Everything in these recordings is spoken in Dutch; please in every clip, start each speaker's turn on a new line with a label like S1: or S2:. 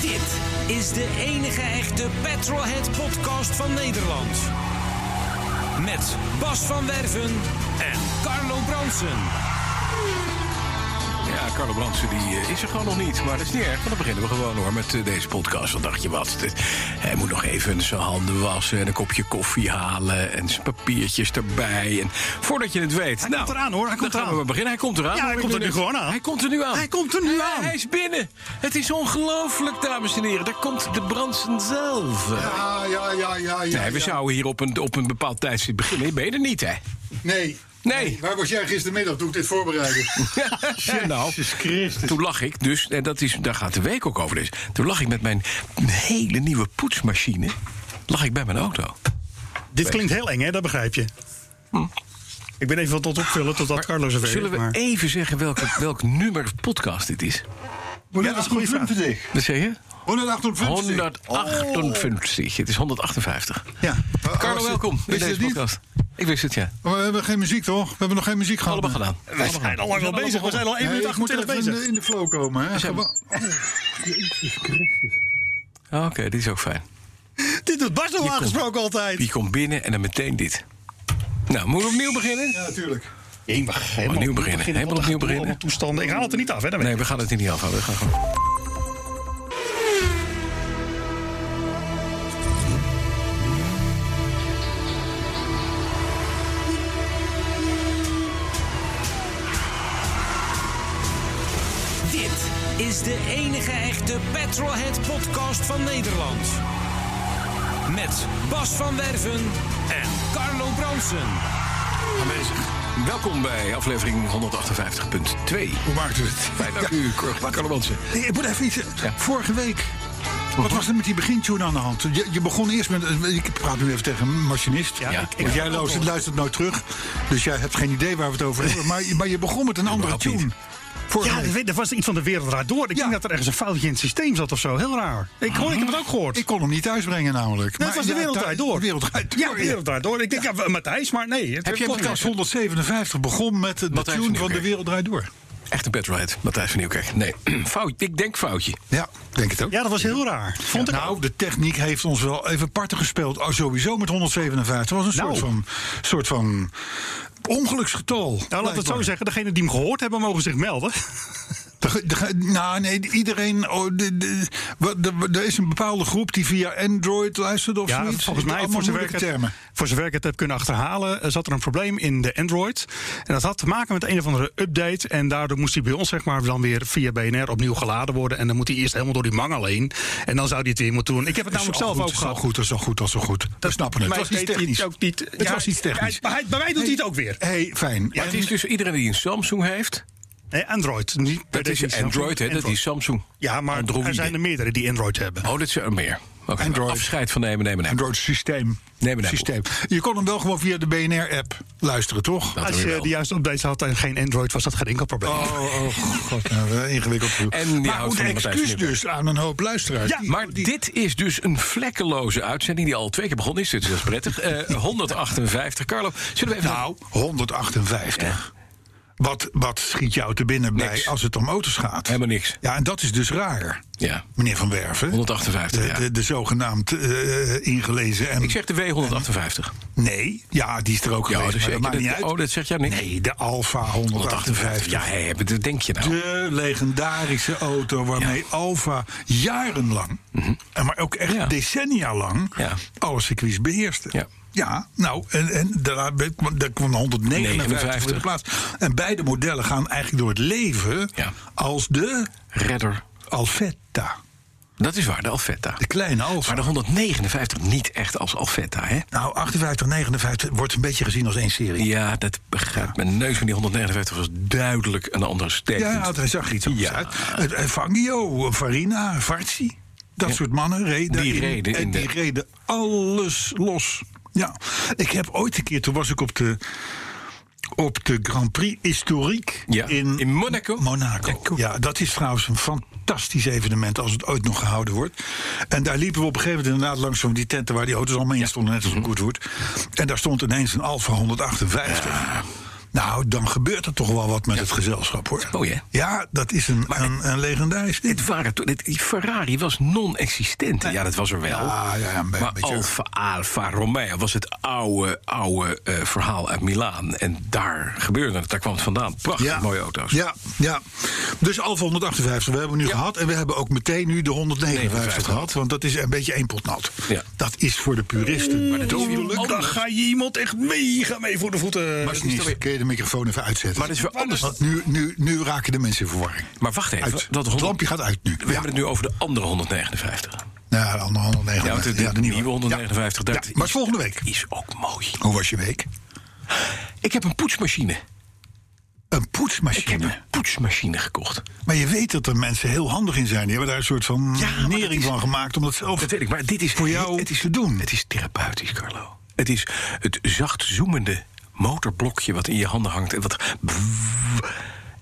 S1: Dit is de enige echte Petrolhead podcast van Nederland. Met Bas van Werven en Carlo Bronsen.
S2: Ja, Carlo Brandsen die eh, is er gewoon nog niet. Maar dat is niet erg, want dan beginnen we gewoon hoor met eh, deze podcast. Dan dacht je wat, dit- hij moet nog even zijn handen wassen... en een kopje koffie halen en zijn papiertjes erbij. En voordat je het weet... Hij
S3: komt eraan, hoor, hij komt
S2: dan gaan we
S3: eraan.
S2: maar beginnen. Hij komt eraan.
S3: Ja, hij
S2: hoor, ik
S3: komt er
S2: ben
S3: nu
S2: net-
S3: gewoon aan.
S2: Hij komt er nu aan.
S3: Hij komt er nu
S2: Hij-
S3: aan.
S2: Hij is binnen. Het is ongelooflijk, dames en heren. Daar komt de Brandsen zelf.
S4: Ja, Ah, ja, ja, ja. ja
S2: nee, we
S4: ja.
S2: zouden hier op een, op een bepaald tijdstip beginnen. Je bent er niet, hè?
S4: Nee.
S2: Nee.
S4: Waar was jij gistermiddag toen ik dit voorbereidde?
S2: Ja, nou, toen lag ik dus, en dat is, daar gaat de week ook over dus. Toen lag ik met mijn hele nieuwe poetsmachine lag ik bij mijn auto.
S3: Dit klinkt heel eng, hè? Dat begrijp je. Hm. Ik ben even wat tot opvullen totdat Carlo zover is.
S2: Zullen we
S3: maar-
S2: even zeggen welke, welk nummer podcast dit is?
S3: Ja, dat is een goede vraag.
S4: 158.
S2: Wat zeg je?
S4: 158.
S2: 158. Het is 158.
S3: Ja.
S4: Oh.
S2: Carlo, welkom in
S4: Wist je
S2: deze
S4: het niet? Oh,
S2: podcast. Ik wist het, ja.
S4: Maar we hebben geen muziek, toch? We hebben nog geen muziek gehad.
S2: Allemaal gedaan.
S3: We zijn al lang wel bezig. We zijn al 1
S4: Nee,
S3: minuut
S4: ik moet
S3: 28
S4: even in de,
S3: bezig.
S4: in de flow komen. Hè?
S2: Zijn we-
S4: Gewoon-
S2: Ah, Oké, dit is ook fijn.
S3: Dit doet Bas
S2: Je
S3: nog aangesproken altijd.
S2: Wie komt binnen en dan meteen dit. Nou, moeten we opnieuw beginnen?
S4: Ja, tuurlijk.
S3: Ik mag helemaal
S2: Opnieuw beginnen, helemaal opnieuw beginnen.
S3: allemaal Toestanden. Ik haal het er niet af, hè? dan weet
S2: Nee, we gaan het hier niet afhouden. We gaan gewoon...
S1: Dit is de enige echte Petrolhead podcast van Nederland. Met Bas van Werven en Carlo Bronsen.
S2: aanwezig. Welkom bij aflevering 158.2.
S4: Hoe maakt u het?
S2: Fijn dank u, Cor- Carlo Bransen.
S4: Nee, Ik moet even iets.
S2: Ja.
S4: Vorige week. Wat was er met die begintune aan de hand? Je, je begon eerst met. eh, Ik praat nu even tegen een machinist.
S3: Ja, ik- ik-
S4: Want jij luistert, luistert nooit terug. Dus jij hebt geen idee waar we het over hebben. Maar, maar je begon met een andere
S2: Überhaupt
S4: tune.
S2: niet.
S3: je.
S4: Vorige
S3: Ja,
S4: week.
S3: dat weet- dat was iets van de wereld raar door. Ik
S4: Ja.
S3: denk dat er ergens een foutje in het systeem zat of zo. Heel raar. Ik, hoor, ik heb het ook gehoord.
S4: Ik kon hem niet thuisbrengen namelijk.
S3: Nee, het was de wereld
S4: daar
S3: draait door.
S4: De wereld draait door.
S3: Ja, de wereld draait door. Ik denk, ja, Matthijs, maar nee. Het
S2: Heb jij
S3: podcast-
S4: Podcast 157 begon met de, de
S2: Matthijs van
S4: tune van
S2: Nieuwkerk.
S4: de wereld draait door.
S2: Echt een petrolhead, Matthijs van Nieuwkerk. Nee, fout, ik denk foutje.
S4: Ja, denk het ook.
S3: Ja, dat was heel raar. Vond ik
S4: nou, de techniek heeft ons wel even parten gespeeld. Oh, sowieso met 157. Dat was een
S3: Nou.
S4: soort, van, soort van ongeluksgetal.
S3: Nou, laat ik het zo zeggen. Degenen die hem gehoord hebben, mogen zich melden.
S4: De ge- de ge- nou, nee, iedereen. oh, de- de- wat- de- Er is een bepaalde groep die via Android luistert of
S3: Ja,
S4: zoiets.
S3: volgens mij,
S4: Allemaal
S3: voor zover, ik
S4: moeilijke
S3: het,
S4: termen.
S3: voor zover ik het heb kunnen achterhalen, eh, zat er een probleem in de Android. En dat had te maken met een of andere update. En daardoor moest hij bij ons zeg maar, dan weer via BNR opnieuw geladen worden. En dan moet hij eerst helemaal door die mangel heen. En dan zou hij het weer moeten doen. Ik heb het namelijk
S4: Al
S3: zelf
S4: goed,
S3: ook
S4: is al
S3: gehad.
S4: goed, is al goed, is al goed. We snappen het. Het was iets
S3: deed hij
S4: technisch.
S3: ook niet.
S4: Het was iets technisch.
S3: ja, maar hij- bij mij doet hij het ook weer.
S4: hey, fijn.
S2: Maar het is dus iedereen die een Samsung heeft.
S3: Nee, Android. Niet per
S2: Dat is
S3: definitie.
S2: Android, hè? Dat is Samsung.
S3: Ja, maar
S2: Android.
S3: er zijn er meerdere die Android hebben.
S2: Oh, dat zijn er meer. Oké,
S4: Android.
S2: Afscheid van nemen, nemen, nemen.
S4: Android systeem.
S2: Nee, maar
S4: systeem. Je kon hem wel gewoon via de BNR-app luisteren, toch?
S2: Dat
S3: Als
S2: weer
S3: je
S2: wel.
S3: de juiste updates had en geen Android, was dat geen enkel probleem.
S4: Oh, oh god, nou, ingewikkeld.
S2: En die
S4: maar
S2: houdt
S4: goed,
S2: van de Matthijs
S4: excuus
S2: van Nieuwkerk.
S4: dus aan een hoop luisteraars.
S3: Ja,
S4: Die-
S2: Maar dit is dus een vlekkeloze uitzending die al twee keer begonnen is. Dus dat is prettig. Eh, 158. Carlo, zullen we even...
S4: Nou, 158. Wat, wat schiet jou te binnen
S2: Niks.
S4: bij als het om auto's gaat?
S2: Helemaal niks.
S4: Ja, en dat is dus raar,
S2: Ja.
S4: meneer Van Werven.
S2: 158,
S4: De,
S2: ja.
S4: de, de zogenaamd eh, ingelezen. En,
S2: Ik zeg de W158.
S4: Nee, ja, die is er ook
S2: Ja,
S4: geweest,
S2: dus
S4: maar
S2: ik-
S4: dat maakt
S2: dat-
S4: niet uit.
S2: oh, dat zegt jou niks?
S4: Nee, de Alfa 158.
S2: Ja, hé, dat denk je nou.
S4: De legendarische auto waarmee Alfa jarenlang, en maar ook echt
S2: Mhm. Ja.
S4: decennia lang,
S2: Ja.
S4: alle circuits beheerste.
S2: Ja.
S4: Ja, nou, en, en daarna be- daar kwam 159 voor
S2: 59.
S4: de plaats. En beide modellen gaan eigenlijk door het leven
S2: Ja.
S4: als de
S2: Redder.
S4: Alfetta.
S2: Dat is waar, de Alfetta.
S4: De kleine Alfa.
S2: Maar de 159 niet echt als Alfetta, hè?
S4: Nou, 58, 59 wordt een beetje gezien als één serie.
S2: Ja, dat begrijpt mijn neus. Maar die 159 was duidelijk een andere ster.
S4: Ja, hij zag er iets anders
S2: Ja.
S4: uit. Eh, eh, Fangio, eh, Farina, Varzi. Dat soort mannen reden.
S2: Die
S4: in-
S2: reden
S4: En
S2: in de-
S4: die reden alles los. Ja, ik heb ooit een keer, toen was ik op de, op de Grand Prix Historique
S2: Ja,
S4: in,
S2: in Monaco.
S4: Monaco. Ja, dat is trouwens een fantastisch evenement als het ooit nog gehouden wordt. En daar liepen we op een gegeven moment inderdaad langs van die tenten waar die auto's allemaal in stonden, net als
S2: Mhm.
S4: een Goodwood. En daar stond ineens een Alfa 158. Nou, dan gebeurt er toch wel wat met het gezelschap hoor.
S2: Oh ja.
S4: Ja, dat is een, een, een legendarisch.
S2: Dit waren toen- dit, die Ferrari was non-existent. Ja, dat was er wel.
S4: Ah, Ja, ja, een be-
S2: maar oh,
S4: beetje-
S2: Alfa, Alfa Romeo was het oude, oude eh, verhaal uit Milaan. En daar gebeurde het. Daar kwam het vandaan. Prachtig mooie auto's.
S4: Ja, ja. Dus Alfa 158 we hebben we nu gehad. En we hebben ook meteen nu de 159 gehad. Want dat is een beetje één pot nat.
S2: Ja.
S4: Dat is voor de puristen. Maar
S2: is weer
S3: Oh, Dan ga je iemand echt mega mee voor de voeten.
S4: Als niet, kun je de microfoon even uitzetten.
S2: Maar dat is weer anders.
S4: Want nu, nu, nu raken de mensen in verwarring.
S2: Maar wacht even.
S4: Uit.
S2: Dat
S4: Het lampje gaat uit nu.
S2: We
S4: Ja.
S2: hebben het nu over de andere 159.
S4: Ja, de andere 159.
S2: Ja, want de,
S4: de
S2: nieuwe 159.
S4: Ja,
S2: Dat
S4: maar is volgende week.
S2: is ook mooi.
S4: Hoe was je week?
S2: Ik heb een poetsmachine.
S4: Een
S2: Ik heb
S4: poetsmachine.
S2: een poetsmachine gekocht.
S4: Maar je weet dat er mensen heel handig in zijn. Die hebben daar een soort van
S2: Ja, maar dat
S4: nering
S2: is-
S4: van gemaakt. Om dat zelf
S2: Dat weet ik, maar dit is
S4: voor jou
S2: het is,
S4: te doen.
S2: Het is therapeutisch, Carlo. Het is het zacht zoemende motorblokje wat in je handen hangt. En wat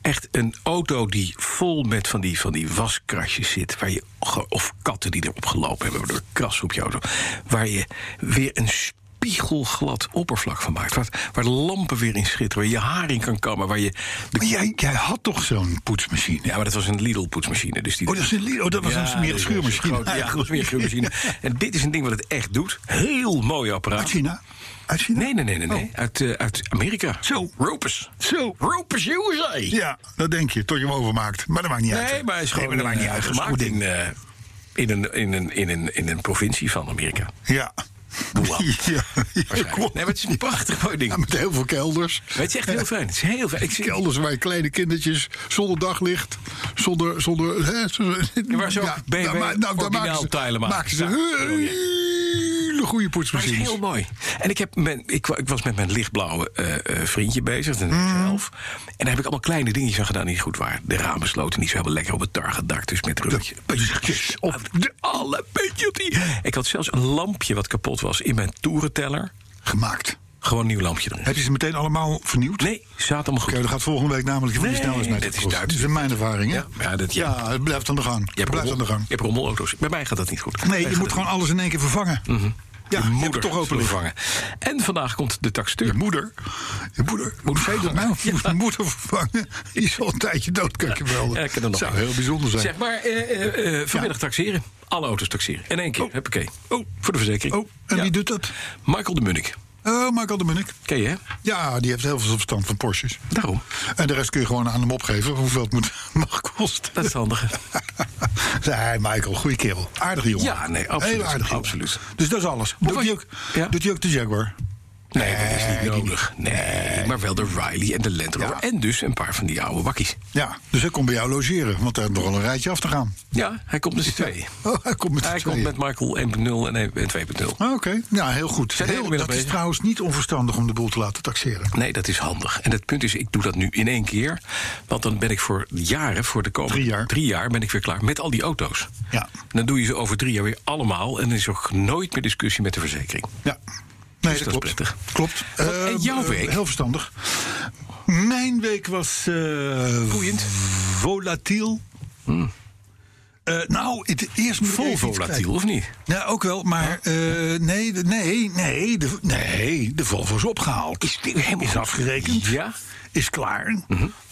S2: echt een auto die vol met van die, van die waskrasjes zit. Waar je, ge- of katten die erop gelopen hebben door krassen op je auto. Waar je weer een spiegelglad oppervlak van maakt. Waar, waar de lampen weer in schitteren. Waar je je haar in kan kammen. Waar je de,
S4: Maar jij, jij had toch zo'n poetsmachine?
S2: ja, maar dat was een Lidl-poetsmachine. Dus die
S4: Oh, dat, is een, li- oh, dat was een
S2: dat
S4: smerige
S2: is
S4: schuurmachine.
S2: groot- Ja, een smerige schuurmachine. En dit is een ding wat het echt doet. Heel mooi
S4: Uit
S2: apparaat.
S4: China? Uit China? Oh.
S2: Nee, nee, nee, nee. nee. Uit, eh, uit Amerika.
S4: Zo.
S2: Ropers.
S4: Zo.
S2: Ropers USA.
S4: Ja, dat denk je, tot je hem overmaakt. Maar dat maakt niet uit.
S2: Nee, maar hij is gewoon
S4: Nee, maar dat maakt niet
S2: eh,
S4: uit. Dat is een
S2: gemaakt
S4: goed ding.
S2: in, eh, in, een, in, een, in, een, in een provincie van Amerika.
S4: Ja.
S2: Boelan.
S4: Ja, ja,
S2: Waarschijnlijk.
S4: klopt.
S2: Nee, maar het is een prachtig mooi ding.
S4: Ja, met heel veel kelders.
S2: Maar het is echt heel fijn. Het is heel fijn. Ik zie-
S4: Kelders waar je kleine kindertjes zonder daglicht, zonder. zonder hè, zonder- nou,
S2: waar ze ook BMW
S4: daar ma- daar maken ze,
S2: originaaltijlen maken.
S4: maken ze
S2: Ja.
S4: een hele goede
S2: Maar het is
S4: poetsmachines.
S2: heel mooi. En ik, heb mijn, ik, wa- ik was met mijn lichtblauwe eh, eh, vriendje bezig, de
S4: Mhm.
S2: 11. En daar heb ik allemaal kleine dingetjes aan gedaan die niet goed waren. De ramen sloten niet zo helemaal lekker op het tar gedakt. Dus met rubbertje.
S4: puntjes op
S2: De alle puntje op die. Ik had zelfs een lampje wat kapot was in mijn toerenteller.
S4: Gemaakt.
S2: Gewoon een nieuw lampje erin.
S4: Heb je ze meteen allemaal vernieuwd?
S2: Nee, staat allemaal
S4: Oké,
S2: goed.
S4: dat gaat volgende week namelijk voor
S2: Nee,
S4: die snelheidsmeter
S2: dat is
S4: kosten.
S2: Duits.
S4: Dat is mijn ervaring, hè?
S2: Ja, ja, dat- ja.
S4: ja het blijft aan de gang.
S2: Je
S4: Het
S2: hebt,
S4: blijft aan de
S2: rommel,
S4: gang.
S2: je hebt rommelauto's. Bij mij gaat dat niet goed.
S4: Nee, je moet gewoon alles in één keer vervangen. Ja,
S2: Ja,
S4: je
S2: Mhm. je
S4: hebt
S2: moeder
S4: het toch open liggen.
S2: vervangen. En vandaag komt de taxateur.
S4: Je moeder. Je moeder. Hoe zei je dat nou? Je moet je moeder vervangen. Die is al een tijdje dood, kan ik je wel.
S2: Ja, ik ken er nog
S4: zou
S2: een.
S4: heel bijzonder zijn.
S2: Zeg maar, eh, eh, eh, vanmiddag taxeren. Alle auto's taxeren. In één keer.
S4: Oh.
S2: Huppakee. Oh, voor de verzekering.
S4: Oh, en
S2: Ja.
S4: wie doet dat?
S2: Michael de Munnik.
S4: Oh, Michael de Munnik.
S2: Ken je, hè?
S4: Ja, die heeft heel veel verstand van Porsches.
S2: Daarom.
S4: En de rest kun je gewoon aan hem opgeven hoeveel het moet, mag kosten.
S2: Dat is handig.
S4: nee, Michael, goeie kerel. Aardige jongen.
S2: Ja, nee, absoluut.
S4: Heel aardig jongen.
S2: Absoluut.
S4: Dus dat is alles. Doet
S2: was
S4: hij,
S2: je-
S4: ook,
S2: Ja?
S4: doet hij ook de Jaguar?
S2: Nee, dat is niet
S4: die
S2: nodig. Nee, maar wel de Riley en de Land Rover.
S4: Ja.
S2: En dus een paar van die oude wakkies.
S4: Ja, dus hij komt bij jou logeren, want hij heeft nogal een rijtje af te gaan.
S2: Ja, hij komt met z'n tweeën.
S4: Oh, hij komt met
S2: Hij
S4: z'n
S2: komt
S4: tweeën.
S2: met Michael 1.0 en 1- 2.0.
S4: Ah, Oké, ja, heel goed.
S2: Zijn de hele
S4: Heel,
S2: middag
S4: dat is
S2: bezig.
S4: trouwens niet onverstandig om de boel te laten taxeren.
S2: Nee, dat is handig. En het punt is, ik doe dat nu in één keer. Want dan ben ik voor jaren, voor de komende
S4: Drie jaar.
S2: ben ik weer klaar met al die auto's.
S4: Ja.
S2: En dan doe je ze over drie jaar weer allemaal. En dan is er ook nooit meer discussie met de verzekering.
S4: Ja, nee,
S2: Dus dat is
S4: dat klopt.
S2: prettig.
S4: Klopt.
S2: Wat- en
S4: Eh,
S2: jouw
S4: eh,
S2: week?
S4: heel verstandig. Mijn week was eh
S2: Boeiend. Hmm.
S4: volatiel. Eh, nou, het eerst moet ik
S2: Vol
S4: even iets
S2: volatiel,
S4: kijken.
S2: of niet?
S4: Ja, ook wel, maar eh, nee, de- nee, nee, de, nee, de Volvo is opgehaald.
S2: Is die helemaal
S4: is
S2: goed?
S4: afgerekend,
S2: Ja. Mhm.
S4: is klaar.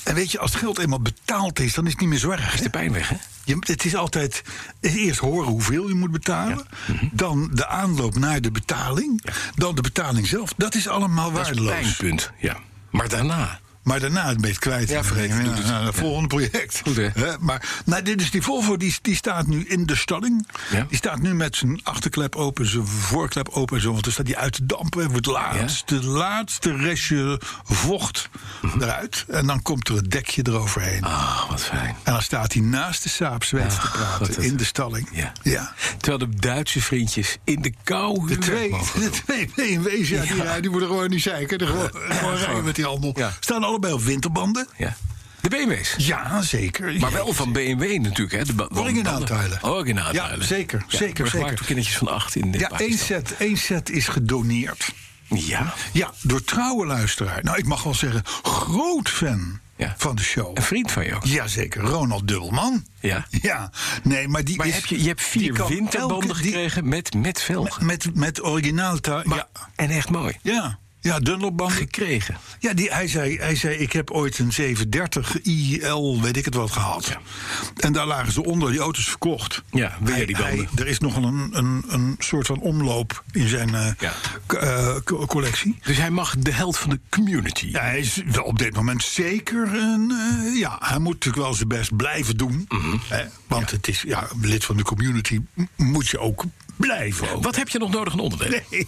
S4: En weet je, als het geld eenmaal betaald is, dan is het niet meer zo erg.
S2: Is
S4: hè?
S2: de pijn weg, hè?
S4: Je, het is altijd eh, eerst horen hoeveel je moet betalen.
S2: Mhm.
S4: Dan de aanloop naar de betaling. Dan de betaling zelf. Dat is allemaal
S2: Dat is
S4: waardeloos.
S2: pijnpunt, ja. Maar daarna...
S4: Maar daarna ben je het kwijt.
S2: Ja, vergeet het,
S4: Ja,
S2: doet het.
S4: nou, het
S2: Ja.
S4: volgende project.
S2: Goed, hè?
S4: Hè, maar nou, dit is die Volvo, die, die staat nu in de stalling.
S2: Ja.
S4: Die staat nu met zijn achterklep open, zijn voorklep open en zo. Want dan staat die uit te dampen. Wordt het laatste, laatste restje vocht eruit. En dan komt er het dekje eroverheen.
S2: Mhm. Ah, wat fijn.
S4: En dan staat hij naast de Saab Zweeds te
S2: Ah, wat
S4: praten
S2: is-
S4: in de stalling.
S2: Ja.
S4: ja.
S2: Terwijl de Duitse vriendjes in de kou
S4: De
S2: hun
S4: twee,
S2: werk mogen
S4: de
S2: doen.
S4: twee BMW's, ja, die,
S2: Ja.
S4: rijden, die worden gewoon niet zeiken. Die Gewoon, gewoon rijden met die handel.
S2: Ja.
S4: Staan allebei op winterbanden.
S2: Ja. De BMW's.
S4: Ja, zeker.
S2: Maar wel van BMW natuurlijk, hè? de ba-
S4: Ja. Originaaldeilen.
S2: Originaaldeilen.
S4: Ja, zeker, zeker,
S2: maar gemaakt
S4: zeker.
S2: door kindertjes van acht in de
S4: Ja, één set, één set is gedoneerd.
S2: Ja.
S4: Ja, door trouwe luisteraar. Nou, ik mag wel zeggen, groot fan
S2: Ja.
S4: van de show.
S2: Een vriend van jou. ook.
S4: Jazeker, Ronald Dubbelman.
S2: Ja.
S4: Ja, nee, maar die
S2: Maar
S4: is...
S2: heb je, je hebt
S4: die
S2: vier
S4: kan
S2: winterbanden
S4: elke- die-
S2: gekregen met, met velgen.
S4: Met, met originaal... ta- Ja,
S2: En echt mooi.
S4: ja, ja Dunlopbanden.
S2: Gekregen.
S4: Ja, die, hij, zei, hij zei, ik heb ooit een 730 IL, weet ik het wat, gehad. En daar lagen ze onder, die auto's verkocht.
S2: Ja, weer
S4: Hij-
S2: die banden.
S4: hij- er is nogal een, een, een soort van omloop in zijn eh,
S2: Ja.
S4: k- eh, co- collectie.
S2: Dus hij mag de held van de community.
S4: Ja, hij is wel op dit moment zeker een... eh, ja, hij moet natuurlijk wel zijn best blijven doen.
S2: Mhm.
S4: Hè, want het is, ja, lid van de community m- moet je ook blijven. ook.
S2: Wat heb je nog nodig aan onderdelen?
S4: Nee,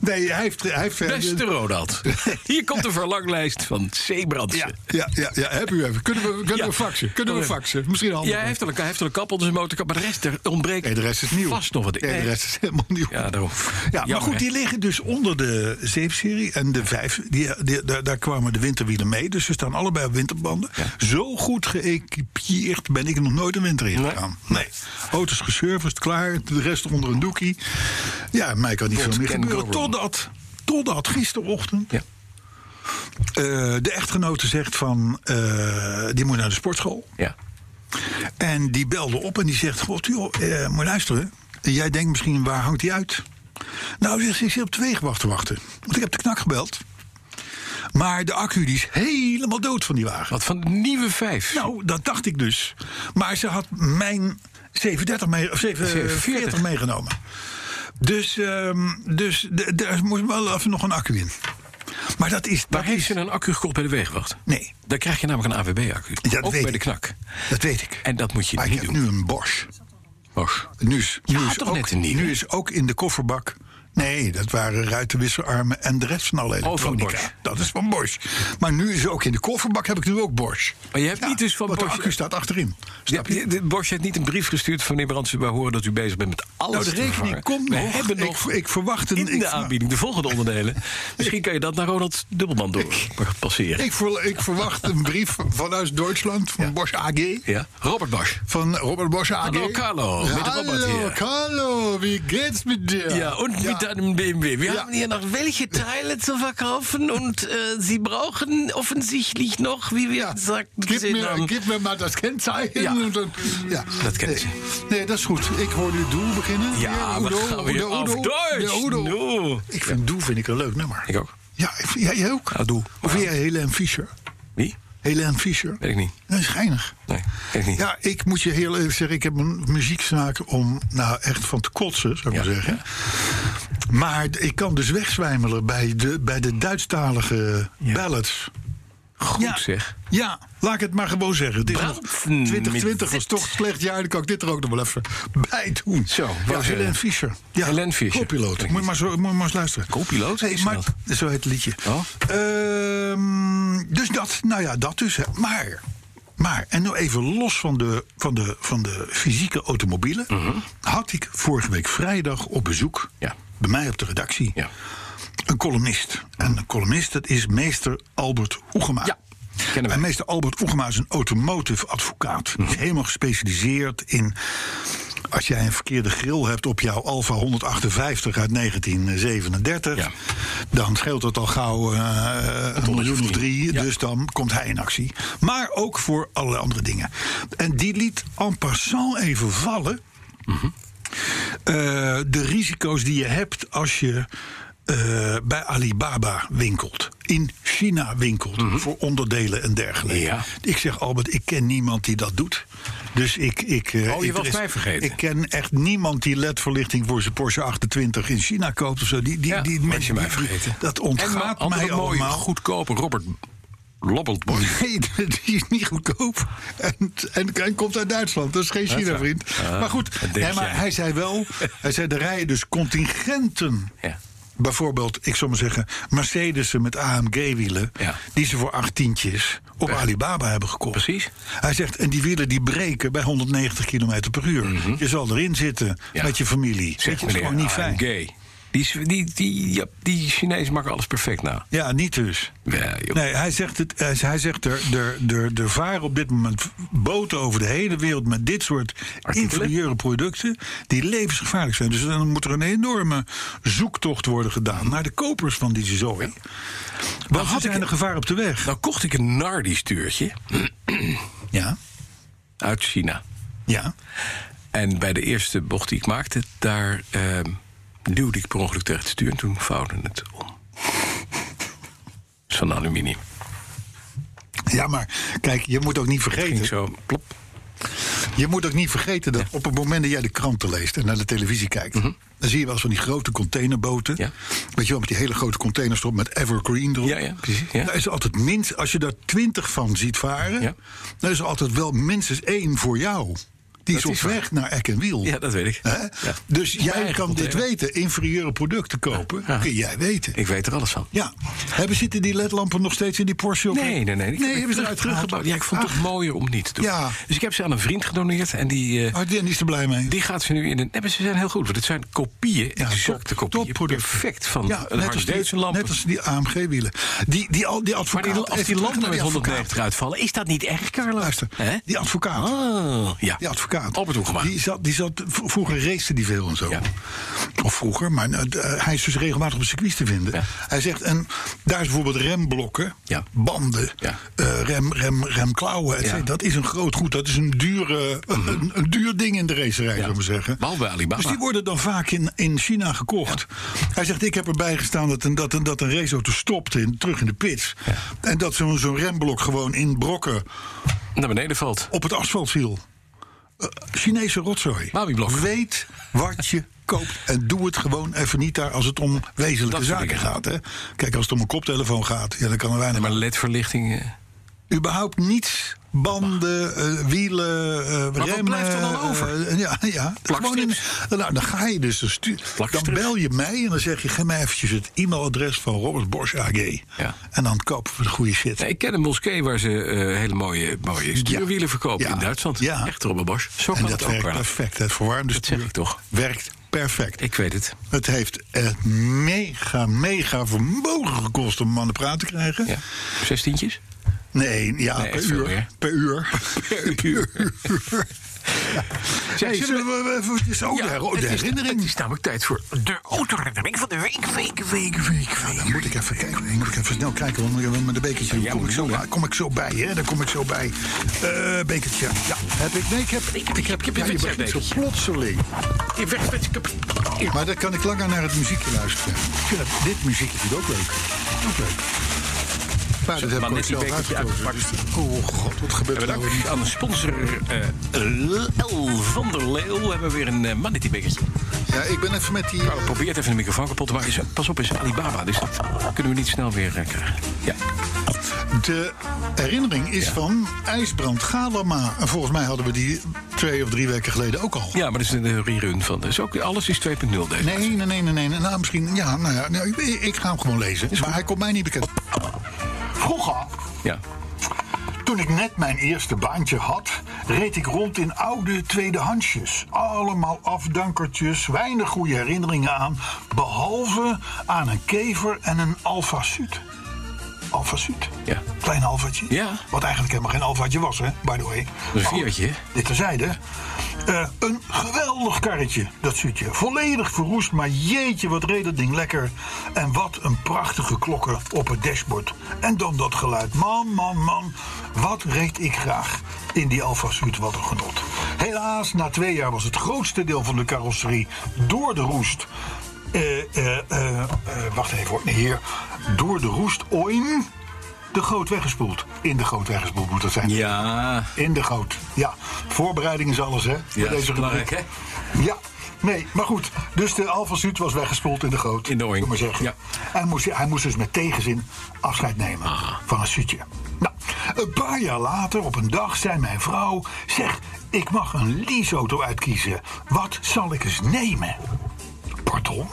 S4: nee, hij heeft... Hij heeft
S2: Beste Ronald. Hier komt de verlanglijst van C.
S4: ja,
S2: Brandsen.
S4: ja, ja, ja, heb u even. Kunnen we, kunnen
S2: Ja.
S4: we faxen? Kunnen we
S2: Nog even.
S4: faxen? Misschien
S2: Ja,
S4: handig.
S2: hij heeft al een, hij heeft al een kap onder zijn motorkap, maar de rest er ontbreekt
S4: Nee, de rest is nieuw.
S2: vast nog wat.
S4: Nee, de rest is helemaal nieuw.
S2: Ja, daarom.
S4: Ja, maar
S2: Jammer,
S4: goed,
S2: hè?
S4: die liggen dus onder de zeepserie en de vijf. Die, die- daar, daar kwamen de winterwielen mee, dus ze staan allebei op winterbanden. Zo goed geëquipeerd ben ik nog nooit een winter in gegaan. Nee. Auto's geserviced, klaar, de rest onder een doekie. Ja, mij kan niet
S2: Bond
S4: veel meer
S2: can
S4: gebeuren.
S2: go wrong.
S4: Totdat, totdat gisterochtend
S2: Ja.
S4: eh, de echtgenote zegt van... eh, die moet naar de sportschool.
S2: Ja.
S4: En die belde op en die zegt: God, joh, eh, moet je luisteren. Jij denkt misschien, waar hangt die uit? Nou, zegt ze, ik zit op de wegenwacht te wachten. Want ik heb de knak gebeld. Maar de accu die is helemaal dood van die wagen.
S2: Wat van de nieuwe vijf.
S4: Nou, dat dacht ik dus. Maar ze had mijn 37 mee, of 47
S2: 47.
S4: meegenomen. Dus, ehm, dus d- daar moest wel even nog een accu in. Maar dat is.
S2: Waar
S4: dat
S2: heeft
S4: is-
S2: ze een accu gekocht bij de wegenwacht?
S4: Nee,
S2: Daar krijg je namelijk een AWB-accu.
S4: Ja, dat
S2: Ook
S4: weet
S2: bij de
S4: ik.
S2: knak.
S4: dat weet ik.
S2: En dat moet je
S4: Maar ik
S2: niet
S4: heb
S2: doen.
S4: nu een Bosch.
S2: Bosch.
S4: Nu is, nu,
S2: Ja,
S4: is
S2: toch
S4: ook,
S2: net een nieuwe.
S4: nu is ook in de kofferbak. Nee, dat waren ruitenwisselarmen en de rest van alle
S2: Oh, van
S4: elektronica.
S2: Bosch.
S4: dat is van Bosch. Maar nu is ook in de kofferbak heb ik nu ook Bosch.
S2: Maar je hebt niet dus van
S4: want
S2: Bosch-
S4: de accu staat achterin.
S2: Ja,
S4: Snap je?
S2: de- de- Bosch heeft niet een brief gestuurd van meneer Brandsen... waar horen dat u bezig bent met alles
S4: Nou, de
S2: te
S4: rekening
S2: vervangen.
S4: komt
S2: We
S4: nog.
S2: hebben
S4: Ik-
S2: nog
S4: ik verwacht een-
S2: in
S4: ik-
S2: de aanbieding de volgende onderdelen. Misschien kan je dat naar Ronald Dubbelman door passeren.
S4: Ik, ver- ik verwacht een brief vanuit Duitsland van Bosch AG.
S2: ja? Robert Bosch.
S4: Van Robert Bosch AG.
S2: Hallo, Carlo, met Robert
S4: Hallo,
S2: hier.
S4: Carlo, wie geht's mit dir?
S2: Ja, und mit einem BMW. Wir
S4: Ja.
S2: haben hier noch welche Teile zu verkaufen und äh, Sie brauchen offensichtlich noch, wie wir
S4: Ja,
S2: sagten,
S4: gib
S2: gesehen
S4: mir,
S2: haben.
S4: gib mir mal das Kennzeichen.
S2: Ja.
S4: Und dann, ja.
S2: Dat kent
S4: nee.
S2: ze.
S4: Nee, dat is goed. Ik hoor nu Doe beginnen.
S2: Ja, we gaan weer
S4: de
S2: af Duits.
S4: de Udo.
S2: Doe.
S4: Ik vind Doe vind ik een leuk nummer.
S2: Ik ook.
S4: Ja, ik vind- ja, jij ook.
S2: Ja, Doe.
S4: Of vind jij Helene Fischer?
S2: Wie?
S4: Helene Fischer.
S2: Weet ik niet.
S4: Dat is geinig.
S2: Nee, ken ik niet.
S4: Ja, ik moet je heel eerlijk zeggen, ik heb een muzieksnaak om nou echt van te kotsen, zou ik
S2: Ja.
S4: maar zeggen. Maar d- ik kan dus wegzwijmelen bij de, bij de Duitsstalige ballads.
S2: Goed
S4: Ja.
S2: zeg.
S4: Ja, laat ik het maar gewoon zeggen. Het is nog-
S2: Brandsen
S4: 2020 was
S2: met
S4: toch een slecht jaar. Dan kan ik dit er ook nog wel even bij doen.
S2: Zo,
S4: ja,
S2: waar-
S4: Helen Fischer. Ja,
S2: Helene Fischer.
S4: Co-piloot.
S2: Klinkt
S4: Moet je maar, zo, moet je maar eens luisteren.
S2: Co-piloot?
S4: Hey,
S2: Is
S4: maar,
S2: dat?
S4: zo heet het liedje.
S2: Oh.
S4: Ehm, dus dat, nou ja, dat dus. hè. Maar, maar en nou even los van de, van de, van de fysieke automobielen... had ik vorige week vrijdag op bezoek...
S2: Mhm. Ja.
S4: bij mij op de redactie...
S2: Ja.
S4: Een columnist. En een columnist, dat is meester Albert Oegema.
S2: Ja, kennen wij. Mhm.
S4: En meester Albert Oegema is een automotive advocaat. Die is helemaal gespecialiseerd in... als jij een verkeerde grill hebt op jouw Alfa 158 uit 1937...
S2: Ja.
S4: dan scheelt dat al gauw eh, een miljoen of drie.
S2: Ja.
S4: Dus dan komt hij in actie. Maar ook voor allerlei andere dingen. En die liet en passant even vallen... Eh, de risico's die je hebt als je eh, bij Alibaba winkelt. In China winkelt voor onderdelen en dergelijke.
S2: Mhm. Ja.
S4: Ik zeg Albert, ik ken niemand die dat doet. Dus ik. ik eh,
S2: Oh, je
S4: ik-
S2: was
S4: er is-
S2: mij vergeten.
S4: Ik ken echt niemand die ledverlichting voor zijn Porsche 28 in China koopt of zo. Die, die,
S2: Ja,
S4: die
S2: was
S4: mensen-
S2: je mij
S4: die-
S2: vergeten.
S4: Dat
S2: En
S4: ontgaat
S2: altijd
S4: mij
S2: dat mooie,
S4: allemaal.
S2: goedkope Robert lobbelt wordt.
S4: Nee, die is niet goedkoop. En, en, en komt uit Duitsland. Dat is geen
S2: is waar.
S4: China-vriend.
S2: Ah,
S4: maar
S2: dat
S4: goed,
S2: denk
S4: nee, maar
S2: jij.
S4: hij zei wel... Hij zei, er rijden dus contingenten.
S2: Ja.
S4: Bijvoorbeeld, ik zou maar zeggen... Mercedes'en met AMG-wielen...
S2: Ja.
S4: die ze voor acht tientjes op Alibaba hebben gekocht.
S2: Precies.
S4: Hij zegt, en die wielen die breken bij 190 km per uur. Je zal erin zitten
S2: Mhm. Ja.
S4: met je familie. Weet je, het is gewoon niet fijn.
S2: Gay. Die, is- die, die, ja, die Chinezen maken alles perfect na.
S4: Ja, niet dus.
S2: Ja, joh.
S4: Nee, hij zegt, het, hij hij zegt er, er, er, er varen op dit moment boten over de hele wereld met dit soort
S2: Artikelen?
S4: inferieure producten die levensgevaarlijk zijn. Dus dan moet er een enorme zoektocht worden gedaan naar de kopers van die zooi. Want
S2: had
S4: had
S2: ik-
S4: zijn een gevaar op de weg.
S2: Nou kocht ik een Nardi-stuurtje
S4: Ja,
S2: uit China.
S4: ja.
S2: En bij de eerste bocht die ik maakte, daar ehm, duwde ik per ongeluk tegen het stuur. En toen vouwde het om. Het is van aluminium.
S4: Ja, maar kijk, je moet ook niet
S2: Ging
S4: vergeten.
S2: zo, plop.
S4: Je moet ook niet vergeten dat op het moment dat jij de kranten leest en naar de televisie kijkt, dan zie je wel eens van die grote containerboten.
S2: Mhm. Ja.
S4: Weet je wel, met die hele grote containers erop met Evergreen erop.
S2: Ja, ja, precies, ja.
S4: Daar is er altijd minst, als je daar twintig van ziet varen,
S2: Ja.
S4: dan is er altijd wel minstens één voor jou. Die is
S2: Dat
S4: op
S2: is waar.
S4: weg naar Eck en Wiel.
S2: Ja, dat weet ik.
S4: Hè?
S2: Ja.
S4: Dus
S2: Mijn
S4: jij
S2: eigen
S4: kan dit
S2: container.
S4: weten. Inferieure producten kopen,
S2: Ja.
S4: kun jij weten.
S2: Ik weet er alles van.
S4: Ja. Hebben zitten die ledlampen nog steeds in die Porsche? of-
S2: Nee, nee, nee. Ik
S4: Nee,
S2: heb
S4: hebben ze eruit
S2: teruggebouwd. Ja, ik vond het
S4: Ach.
S2: toch mooier om niet te doen.
S4: Ja.
S2: Dus ik heb ze aan een vriend gedoneerd. En die, eh,
S4: Oh, die die is er blij mee.
S2: die gaat ze nu in een... Nee, maar ze zijn heel goed. Want het zijn kopieën,
S4: Ja,
S2: exacte
S4: top-
S2: kopieën.
S4: topproducten.
S2: Perfect van
S4: Ja,
S2: een
S4: net
S2: Harley
S4: als,
S2: Davidson
S4: die,
S2: lampen.
S4: net als die AMG-wielen. Die, die, al- die
S2: maar
S4: advocaat...
S2: die, als
S4: even
S2: die
S4: terug
S2: lampen
S4: naar
S2: met
S4: die advocaat.
S2: 190 uitvallen, is dat niet erg, Carlo?
S4: Luister,
S2: Hè?
S4: die advocaat.
S2: Oh, ja.
S4: Die advocaat.
S2: Albert Hoekema.
S4: Die zat, die zat, v- vroeger race die veel en zo.
S2: Ja.
S4: Of vroeger, maar eh, d- eh, hij is dus regelmatig op het circuit te vinden.
S2: Ja.
S4: Hij zegt, en daar is bijvoorbeeld remblokken,
S2: Ja.
S4: banden,
S2: Ja.
S4: eh, rem, rem, remklauwen. et
S2: Ja. Mhm.
S4: cetera. Dat is een groot goed, dat is een, dure, een, een duur ding in de racerij, zou ik maar zeggen.
S2: Behalve bij Alibaba.
S4: Dus die worden dan vaak in, in China gekocht. Hij zegt, ik heb erbij gestaan dat een, dat een, dat een raceauto stopt in, terug in de pits. En dat zo'n zo'n remblok gewoon in brokken
S2: Naar beneden valt.
S4: op het asfalt viel. Eh, Chinese rotzooi.
S2: Mabiblok.
S4: Weet wat je koopt en doe het gewoon even niet daar als het om wezenlijke
S2: Dat soort
S4: zaken
S2: dingen.
S4: gaat. Hè? Kijk, als het om een koptelefoon gaat, ja, dan kan er weinig.
S2: Maar
S4: Maar
S2: ledverlichting... eh,
S4: überhaupt niets. Banden, eh, wielen, eh
S2: wat
S4: remmen,
S2: blijft er dan over?
S4: eh, ja, ja. Gewoon in- nou, dan ga je dus. Dan, stu- dan
S2: Plakstrips.
S4: bel je mij en dan zeg je: geef mij eventjes het e-mailadres van Robert Bosch AG.
S2: Ja.
S4: En dan kopen we de goede shit.
S2: Nee, ik ken een moskee waar ze eh, hele mooie, mooie stuurwielen verkopen
S4: Ja.
S2: in Duitsland.
S4: Ja.
S2: Echt Robbe Bosch. Zo
S4: en
S2: kan
S4: dat
S2: het ook
S4: werkt
S2: wel.
S4: perfect. Het verwarmde
S2: Dat zeg
S4: stuur
S2: ik toch.
S4: werkt perfect.
S2: Ik weet het.
S4: Het heeft echt mega, mega vermogen gekost om mannen praat te krijgen.
S2: Ja. Zestientjes?
S4: Nee, ja,
S2: Nee,
S4: per,
S2: echt veel
S4: uur,
S2: meer.
S4: per uur. Per uur. Ja.
S2: Zeg,
S4: Hey,
S2: zullen
S4: zullen we even eventjes- Oh, de, her- oh,
S2: het,
S4: de
S2: is, het
S4: herinnering.
S2: is namelijk tijd voor de autoherinnering van de week, week, week, week, week.
S4: Dan moet ik even kijken. Dan moet ik even snel kijken. Want ik- met een bekertje
S2: jij
S4: kom
S2: moet
S4: ik, zo
S2: doen, hè?
S4: bij, kom ik zo bij. Hè? Daar kom ik zo bij. Eh, bekertje. Ja, heb ik. Nee, ik heb. Ik heb.
S2: heb-
S4: Ja,
S2: ik
S4: je
S2: heb-
S4: begint zo
S2: bekertje.
S4: plotseling.
S2: Ik Weg met je
S4: Maar dan kan ik langer naar het muziekje luisteren. Ik vind dat- dit muziekje vind ik ook leuk. Ook leuk. Maar dat heb
S2: maar
S4: ik ook
S2: net die
S4: zelf
S2: bekertje
S4: uitgekozen. Oh god, wat gebeurt er nou weer?
S2: Bedankt aan de sponsor eh, L van der Leeuw. We hebben weer een uh, Manity-bekertje.
S4: Ja, ik ben even met die...
S2: Carlo probeert even de microfoon kapot te maken. Is- Pas op, is Alibaba, dus dat kunnen we niet snel weer eh, krijgen. Ja.
S4: De herinnering is van IJsbrand Galama. En volgens mij hadden we die twee of drie weken geleden ook al.
S2: ja, maar dat is een rerun van. Dus ook, alles is 2.0 deze.
S4: Nee, nee, nee, nee, nee. Nou, misschien... Ja, nou ja, nou, ik, ik ga hem gewoon lezen. Maar hij komt mij niet bekend. Vroeger
S2: Ja.
S4: Toen ik net mijn eerste baantje had, reed ik rond in oude tweedehandsjes. Allemaal afdankertjes, weinig goede herinneringen aan, behalve aan een kever en een Alfa Sud. Alfa Sud?
S2: Ja.
S4: Klein alfatje?
S2: Ja.
S4: Wat eigenlijk helemaal geen alfatje was, hè, by the way.
S2: Een
S4: Maar goed,
S2: viertje, hè?
S4: Dit terzijde. Oh, Eh, een geweldig karretje, dat Sudje. Volledig verroest, maar jeetje, wat reed dat ding lekker. En wat een prachtige klokken op het dashboard. En dan dat geluid. Man, man, man. Wat reed ik graag in die Alfa Sud, wat een genot. Helaas, na twee jaar was het grootste deel van de carrosserie door de roest. Eh, eh, eh, eh, wacht even hoor, Nee, hier. Door de roest oin de goot weggespoeld. In de goot weggespoeld moet dat zijn.
S2: Ja.
S4: In de goot. Ja, voorbereiding is alles, hè? voor
S2: dat is
S4: rubriek.
S2: belangrijk, hè?
S4: Ja.
S5: Nee, maar goed. Dus de Alfa Zuid was weggespoeld in de goot.
S2: In de oing.
S5: kan maar zeggen.
S2: Ja.
S5: Hij, moest, hij moest dus met tegenzin afscheid nemen
S2: Ah.
S5: van een Zuidje. Nou, een paar jaar later, op een dag, zei mijn vrouw... Zeg, ik mag een leaseauto uitkiezen. Wat zal ik eens nemen? Pardon,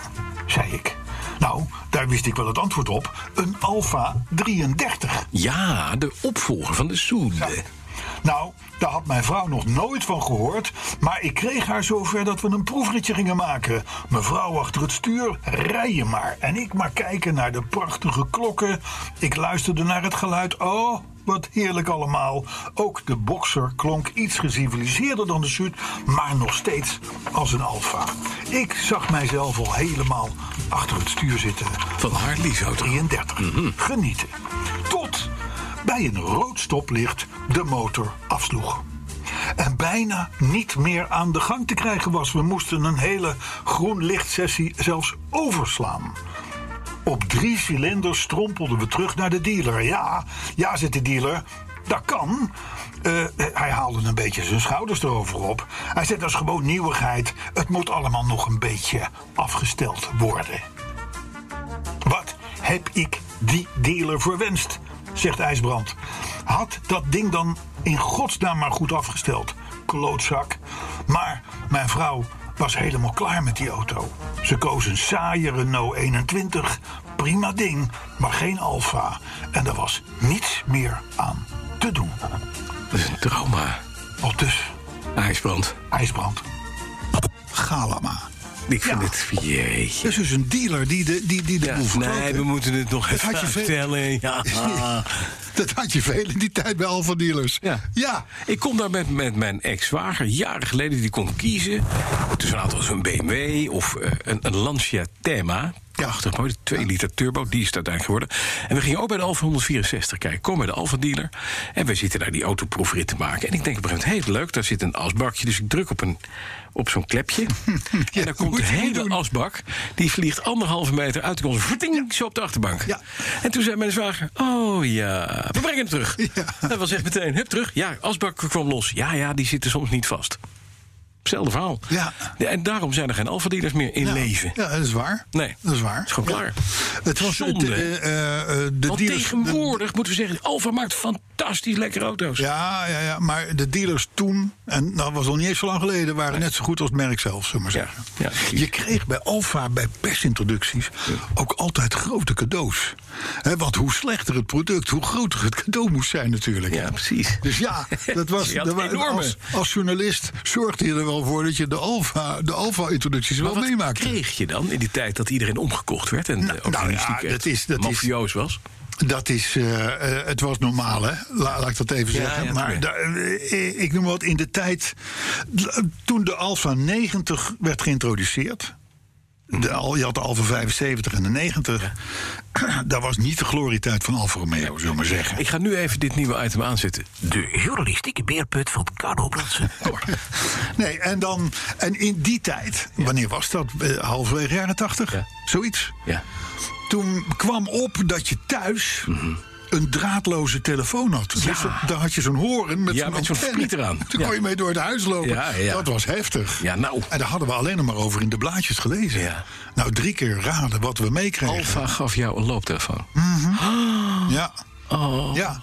S5: zei ik. Nou, daar wist ik wel het antwoord op. Een Alfa 33.
S2: Ja, de opvolger van de Soende.
S5: Nou, daar had mijn vrouw nog nooit van gehoord. Maar ik kreeg haar zover dat we een proefritje gingen maken. Mevrouw achter het stuur, rijden maar. En ik maar kijken naar de prachtige klokken. Ik luisterde naar het geluid. Oh, wat heerlijk allemaal. Ook de bokser klonk iets geciviliseerder dan de Zuid, maar nog steeds als een alfa. Ik zag mijzelf al helemaal achter het stuur zitten.
S2: Van Harley's auto.
S5: 33. Genieten. Tot bij een rood stoplicht de motor afsloeg. En bijna niet meer aan de gang te krijgen was. We moesten een hele groen lichtsessie zelfs overslaan. Op drie cilinders strompelden we terug naar de dealer. Ja, ja, zit de dealer. Dat kan. Eh, hij haalde een beetje zijn schouders erover op. Hij zegt, dat is gewoon nieuwigheid. Het moet allemaal nog een beetje afgesteld worden. Wat heb ik die dealer verwenst? zegt IJsbrand. Had dat ding dan in godsnaam maar goed afgesteld, klootzak. Maar mijn vrouw was helemaal klaar met die auto. Ze koos een saaie Renault 21. Prima ding, maar geen Alfa. En er was niets meer aan te doen.
S2: Dat is een trauma.
S5: Al dus,
S2: IJsbrand.
S5: IJsbrand. Galama.
S2: Ik vind
S5: Ja.
S2: het... Jeetje.
S4: is dus een dealer die de, die, die de
S2: Ja,
S4: boel verkoopt.
S2: nee, we moeten het nog
S4: had
S2: even
S4: je veel-
S2: vertellen. Ja.
S4: Dat had je veel in die tijd bij Alfa Dealers.
S2: Ja.
S4: ja.
S2: Ik kom daar met, met mijn ex-zwager, jaren geleden, die kon kiezen. Tussen een aantal zo'n BMW of eh, een, een Lancia Thema. Prachtig mooi, 2 liter turbo, die is het uiteindelijk geworden. En we gingen ook bij de Alfa 164 kijken. Kom bij de Alfa dealer. En we zitten daar die autoproefrit te maken. En ik denk op een gegeven moment, heel leuk, daar zit een asbakje. Dus ik druk op, een- op zo'n klepje. en dan komt
S4: moet
S2: de
S4: je niet
S2: hele
S4: doen.
S2: asbak. Die vliegt anderhalve meter uit de grond. Verting, zo op de achterbank.
S4: Ja.
S2: En toen zei mijn zwager, oh ja, we brengen hem terug. Dat was echt meteen, hup, terug. Ja, asbak kwam los. Ja, ja, die zitten soms niet vast. Hetzelfde verhaal.
S4: Ja.
S2: En daarom zijn er geen alfa-dealers meer in
S4: Ja.
S2: leven.
S4: Ja, dat is waar.
S2: Nee.
S4: Dat is waar.
S2: Is gewoon
S4: Ja.
S2: klaar.
S4: Het was het,
S2: Zonde.
S4: eh, eh, eh, de
S2: Want
S4: dealers-
S2: tegenwoordig moeten we zeggen, Alfa maakt fantastisch lekkere auto's.
S4: Ja, ja, ja, maar de dealers toen, en dat was nog niet eens zo lang geleden, waren net zo goed als het merk zelf, zullen we maar
S2: Ja,
S4: zeggen.
S2: ja, precies.
S4: je kreeg bij Alfa, bij persintroducties, ook altijd grote cadeaus. Hè, want hoe slechter het product, hoe groter het cadeau moest zijn natuurlijk.
S2: Ja, precies.
S4: Dus ja, dat was,
S2: Je had
S4: dat wa-
S2: enorme.
S4: Als, als journalist zorgde je er wel voor dat je de Alfa de Alfa introducties wel
S2: wat
S4: meemaakte.
S2: kreeg je dan in die tijd dat iedereen omgekocht werd? En
S4: Nou,
S2: nou, ook
S4: nou ja,
S2: journalistiek
S4: dat is- dat is-
S2: mafioos was?
S4: Dat is, eh, eh, het was normaal, hè? La- laat ik dat even
S2: Ja,
S4: zeggen.
S2: ja,
S4: maar
S2: tuurlijk.
S4: da- eh, ik noem wat in de tijd. l- Toen de Alfa 90 werd geïntroduceerd. De, al- je had de Alfa 75 en de 90. Dat was niet de glorietijd van Alfa Romeo, zullen we maar zeggen.
S2: Ik ga nu even dit nieuwe item aanzetten. De journalistieke beerput van Carlo Bransen.
S4: Nee, en, dan, en in die tijd, wanneer was dat? Eh, Halverwege jaren 80?
S2: Ja.
S4: Zoiets.
S2: ja.
S4: Toen kwam op dat je thuis
S2: Mhm.
S4: een draadloze telefoon had. Dus dat- daar had je zo'n horen met
S2: Ja,
S4: zo'n
S2: met zo'n
S4: antenne.
S2: vliet eraan.
S4: Toen
S2: Ja.
S4: kon je mee door het huis lopen.
S2: Ja, ja.
S4: Dat was heftig.
S2: Ja, nou.
S4: En daar hadden we alleen nog maar over in de blaadjes gelezen.
S2: Ja.
S4: Nou, drie keer raden wat we meekregen.
S2: Alfa gaf jou een looptelefoon.
S4: Hm.
S2: Oh.
S4: Ja. Ja.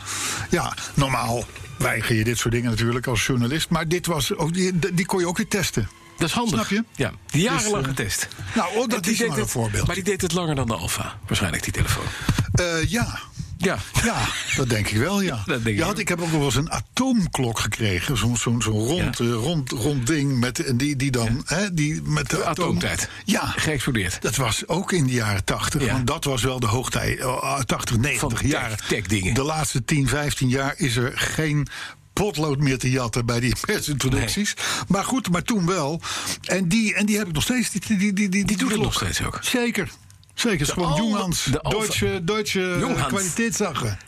S4: ja, normaal weiger je dit soort dingen natuurlijk als journalist. Maar dit was ook, die, die kon je ook weer testen.
S2: Dat is handig.
S4: Snap je?
S2: Ja, die jarenlang
S4: Dus, eh,
S2: getest.
S4: nou, oh, dat
S2: En die
S4: is
S2: deed
S4: maar een
S2: het-
S4: voorbeeld.
S2: Maar die deed het langer dan de Alfa, waarschijnlijk, die telefoon.
S4: Eh, ja.
S2: Ja.
S4: Ja, dat denk ik wel, ja.
S2: Dat denk
S4: je
S2: ik
S4: had,
S2: ook.
S4: ik heb ook wel eens een atoomklok gekregen. Zo'n zo'n zo'n rond,
S2: Ja.
S4: eh, rond, rond ding met, en die, die dan... Hè, die met de, atoom-
S2: Atoomtijd.
S4: Ja,
S2: Geëxplodeerd.
S4: dat was ook in de jaren 80.
S2: Ja.
S4: Want dat was wel de hoogtij. eh, 80, 90
S2: Van
S4: jaar.
S2: tech- techdingen.
S4: De laatste 10, 15 jaar is er geen potlood meer te jatten bij die persintroducties. Maar goed, maar toen wel. En die, en die heb ik nog steeds. Die, die, die, die, die,
S2: Die doet het
S4: klok.
S2: nog steeds ook.
S4: Zeker. Zeker, het is gewoon
S2: Alfa-
S4: Junghans.
S2: de Alfa-
S4: Deutsche, Deutsche
S2: Junghans.
S4: eh, kwaliteitszagen.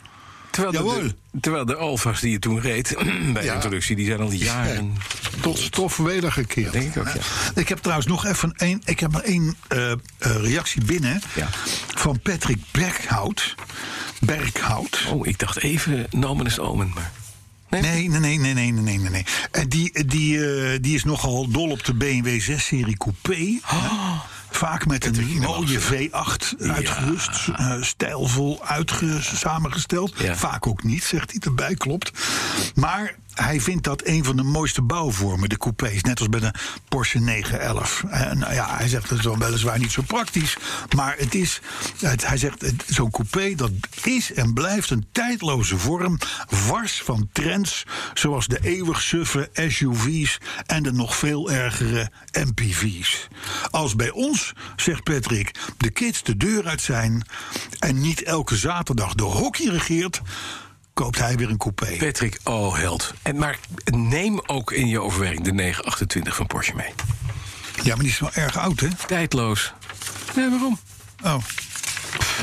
S2: Terwijl
S4: Jawohl.
S2: de, de- terwijl de Alfa's die je toen reed, bij de
S4: Ja.
S2: introductie, die zijn al jaren...
S4: Tot stof wedergekeerd.
S2: Dat denk ik ook, ja.
S4: Ik heb trouwens nog even één. Ik heb maar één eh, eh, reactie binnen.
S2: Ja.
S4: Van Patrick Berghout. Berghout.
S2: nou, Oh, ik dacht even, nomen is omen, maar...
S4: Nee, nee, nee, nee, nee, nee, nee, nee, nee. En die, die, eh, die is nogal dol op de BMW 6-serie Coupé. Vaak met een mooie V8 uitgerust. eh, stijlvol uitge samengesteld.
S2: Ja.
S4: Vaak ook niet, zegt hij, erbij klopt. Maar hij vindt dat een van de mooiste bouwvormen, de coupés. Net als bij de Porsche 911. En nou ja, hij zegt dat is wel weliswaar niet zo praktisch. Maar het is, het, hij zegt, het- zo'n coupé dat is en blijft een tijdloze vorm. Wars van trends zoals de eeuwig suffe SUV's en de nog veel ergere MPV's. Als bij ons, zegt Patrick, de kids de deur uit zijn... en niet elke zaterdag de hockey regeert... koopt hij weer een coupé.
S2: Patrick, oh held. En, maar neem ook in je overweging de 928 van Porsche mee.
S4: Ja, maar die is wel erg oud, hè?
S2: Tijdloos. Nee, waarom?
S4: Oh.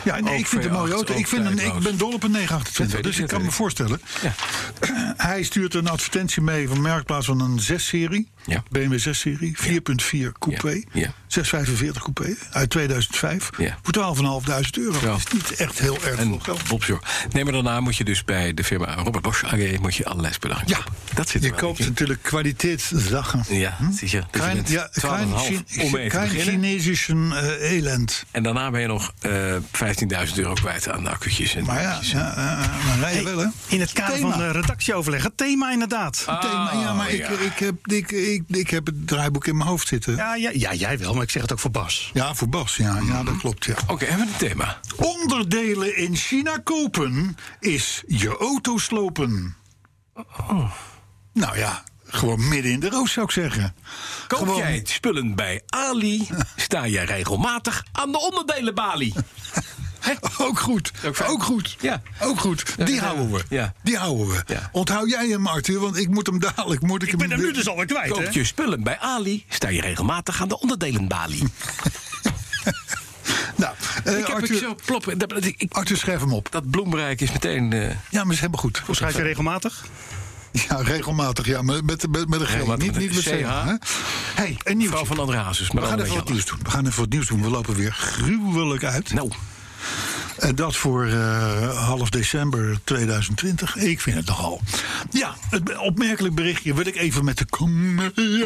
S4: Ja, nee,
S2: Ook
S4: ik vind het een mooie
S2: V8,
S4: auto. Ik,
S2: ook
S4: vind een, ik
S2: tijdloos.
S4: ben dol op een
S2: Dat
S4: 928,
S2: weet
S4: dus
S2: ik,
S4: ik
S2: dat
S4: kan me
S2: weet ik.
S4: voorstellen.
S2: Ja.
S4: Hij stuurt een advertentie mee van Merkplaats van een 6-serie.
S2: Ja.
S4: BMW 6-serie, 4.4 coupé.
S2: Ja. Ja.
S4: 645 coupé uit 2005.
S2: Ja.
S4: Voor 12.500 euro.
S2: Ja.
S4: Dat is niet echt heel erg veel
S2: En
S4: geld.
S2: Bobsjor. Nee, maar daarna moet je dus bij de firma Robert Bosch AG moet je allerlei spullen
S4: Ja,
S2: kopen. Dat zit er
S4: je
S2: wel
S4: koopt
S2: in.
S4: natuurlijk kwaliteitszaken.
S2: Ja, zie je.
S3: Hm?
S2: Dus je
S4: Kein,
S2: bent
S4: ja,
S2: 12,5
S4: kein,
S2: om mee
S4: Chine-
S2: te
S4: kein
S2: beginnen.
S4: Chinesische eh, elend.
S2: En daarna ben je nog eh 15.000 euro kwijt aan de accu'tjes. En
S4: Maar ja, ja eh, eh, maar rij je wel, hè?
S3: In het kader
S4: Thema.
S3: van de redactieoverleg. Het thema inderdaad.
S2: Ah,
S4: thema. Ja, maar ik,
S2: ja.
S4: Ik, heb, ik, ik, ik heb het draaiboek in mijn hoofd zitten. Ja,
S3: Ja, ja, ja, jij wel, maar ik zeg het ook voor Bas.
S4: voor Bas. Ja, ja
S2: Mhm.
S4: dat klopt. Ja.
S2: Oké, hebben we een thema?
S4: Onderdelen in China kopen is je auto slopen. Nou ja, gewoon midden in de roos zou ik zeggen.
S2: Koop
S4: Gewoon-
S2: jij spullen bij Ali, sta jij regelmatig aan de onderdelenbalie.
S4: Ook goed.
S2: Ook
S4: Ook,
S2: fijn.
S4: goed.
S2: Ja.
S4: Ook goed.
S2: Ja,
S4: Die
S2: ja.
S4: houden we.
S2: Ja.
S4: Die houden we.
S2: Ja.
S4: Onthoud jij hem, Arthur, want ik moet hem dadelijk. Moet ik,
S3: Ik
S4: hem
S3: ben hem nu dus alweer kwijt,
S2: Koop
S3: hè?
S2: je spullen bij Ali, sta je regelmatig aan de onderdelenbalie.
S4: Nou, eh,
S2: ik heb
S4: Arthur,
S2: ik zo ploppen. Dat, dat- ik-
S4: Arthur, schrijf hem op.
S2: dat bloemrijk is meteen eh
S4: Ja, maar ze hebben goed.
S3: Hoe schrijf je regelmatig?
S4: Ja, regelmatig. Ja, met, met, met, met een G.
S2: Regelmatig
S4: Niet,
S2: met
S4: niet met CH.
S2: een CH.
S4: hè? hey, een
S2: vrouw
S4: nieuws.
S2: van André Hazes.
S4: We
S2: Maar
S4: gaan
S2: dan
S4: even wat
S2: een
S4: nieuws
S2: beetje
S4: doen. We gaan even wat nieuws doen. We lopen weer gruwelijk uit.
S2: anders. Nou,
S4: En dat voor eh, half december 2020. Ik vind het nogal. Ja, het opmerkelijk berichtje wil ik even met de community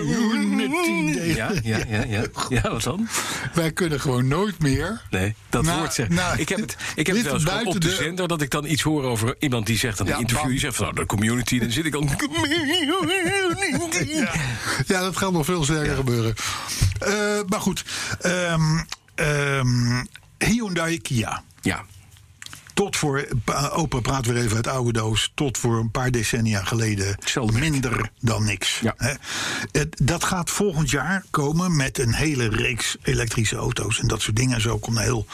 S4: delen.
S2: ja, ja, ja, ja. Ja, wat dan?
S4: Wij kunnen gewoon nooit meer.
S2: Nee, dat
S4: Nou,
S2: woord zeg.
S4: nou,
S2: ik heb het, ik heb het
S4: dit
S2: wel eens gewoon
S4: buiten
S2: op de,
S4: de-
S2: zender dat ik dan iets hoor over iemand die zegt aan
S4: Ja,
S2: een interview.
S4: bam.
S2: Die zegt van nou, de community. Dan zit ik al.
S4: Ja, dat gaat nog veel sterker gebeuren. Eh, maar goed. Ehm, ehm, Hyundai Kia.
S2: Ja,
S4: Tot voor, pa- opa praat weer even uit oude doos, tot voor een paar decennia geleden
S2: Hetzelfde merk.
S4: minder dan niks.
S2: Ja.
S4: Hè? Het- dat gaat volgend jaar komen met een hele reeks elektrische auto's en dat soort dingen. Zo komt een heel,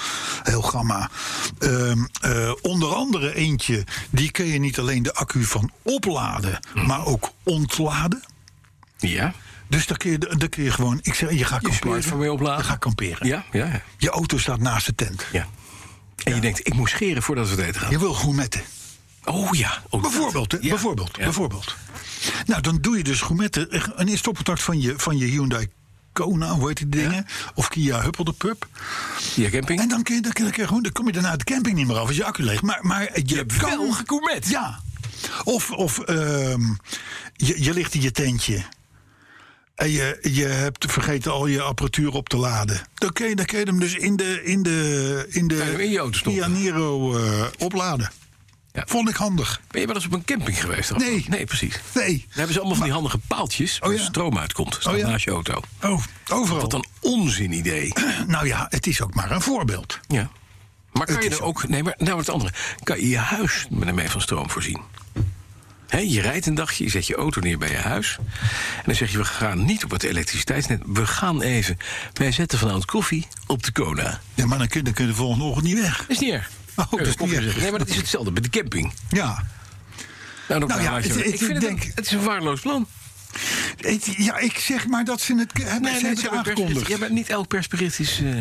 S4: heel gamma. Ehm, eh, onder andere eentje, die kun je niet alleen de accu van opladen,
S2: Hm.
S4: maar ook ontladen.
S2: ja.
S4: Dus daar kun je, daar kun je gewoon, ik zeg, je gaat kamperen.
S2: smartphone weer opladen.
S4: Je gaat kamperen.
S2: Ja, ja, ja.
S4: Je auto staat naast de tent.
S2: ja. En je denkt, ik moet scheren voordat we het eten gaan.
S4: Je wil gourmetten.
S2: Oh ja. Oh, dat.
S4: Bijvoorbeeld, hè?
S2: Ja.
S4: bijvoorbeeld,
S2: Ja.
S4: bijvoorbeeld. Nou, dan doe je dus gourmetten. eh, Een eerste opcontact van je, van je Hyundai Kona, hoe heet die dingen? Of Kia Huppel de Pup.
S2: Ja, camping.
S4: En dan, kun je, dan, kun je gewoon, dan kom je daarna uit de camping niet meer af als je accu leeg. Maar, maar je,
S2: hebt
S4: kan...
S2: wel gegourmet.
S4: Ja. Of, of ehm, je, je ligt in je tentje. En je, je hebt vergeten al je apparatuur op te laden. Dan kun je, dan kun je hem dus in de, in de, in
S2: Kan je
S4: de
S2: hem in je auto stoppen?
S4: Kia Niro eh, opladen.
S2: Ja.
S4: Vond ik handig.
S2: Ben je wel eens op een camping geweest?
S4: Nee.
S2: Of- Nee, precies. Daar
S4: Nee.
S2: hebben ze allemaal van die handige paaltjes waar
S4: Oh ja.
S2: stroom uitkomt. Staat
S4: Oh ja.
S2: naast je auto.
S4: Oh, overal.
S2: Wat een onzin idee.
S4: Nou ja, het is ook maar een voorbeeld.
S2: Ja. Maar kan
S4: Het
S2: je
S4: is
S2: er ook. Nee, maar nou het andere. Kan je je huis met ermee van stroom voorzien? Hè, je rijdt een dagje, je zet je auto neer bij je huis. En dan zeg je: we gaan niet op het elektriciteitsnet. We gaan even. Wij zetten vanavond koffie op de Kona.
S4: Ja, maar dan kun je, dan kun je de volgende ochtend niet weg.
S2: Dat is niet erg.
S4: Oh, dat is niet erg.
S2: Nee, maar dat is hetzelfde bij de camping.
S4: Ja,
S2: Nou, dan
S4: Nou ja,
S2: laat je
S4: het-
S2: wel-
S4: het-
S2: ik vind
S4: ik
S2: het, een-
S4: denk-
S2: het is een waardeloos plan.
S4: ik, ja, ik zeg maar dat ze het hebben, ze hebben het aangekondigd.
S2: Ja, maar niet elk persbericht is, eh,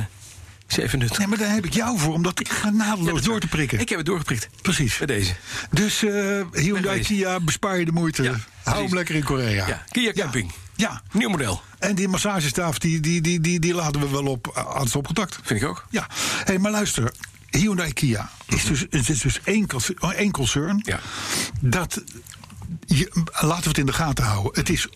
S2: is even nuttig.
S4: Nee, maar daar heb ik jou voor, om dat
S2: Ja, dat
S4: genadeloos
S2: is
S4: door
S2: waar.
S4: te prikken.
S2: Ik heb het doorgeprikt.
S4: Precies.
S2: Bij deze.
S4: Dus eh Hyundai
S2: Wegwezen.
S4: Kia, bespaar je de moeite.
S2: Ja,
S4: Hou
S2: precies.
S4: hem lekker in Korea.
S2: Ja, Kia Camping.
S4: Ja,
S2: Nieuw model.
S4: en die massagestaaf, die, die, die, die, die laden we wel op eh, aan het opcontact.
S2: Vind ik ook.
S4: Ja, hey, maar luister. dus Hyundai Kia is dus, het is dus één, conce- één concern.
S2: Ja.
S4: Dat je- laten we het in de gaten houden. Het is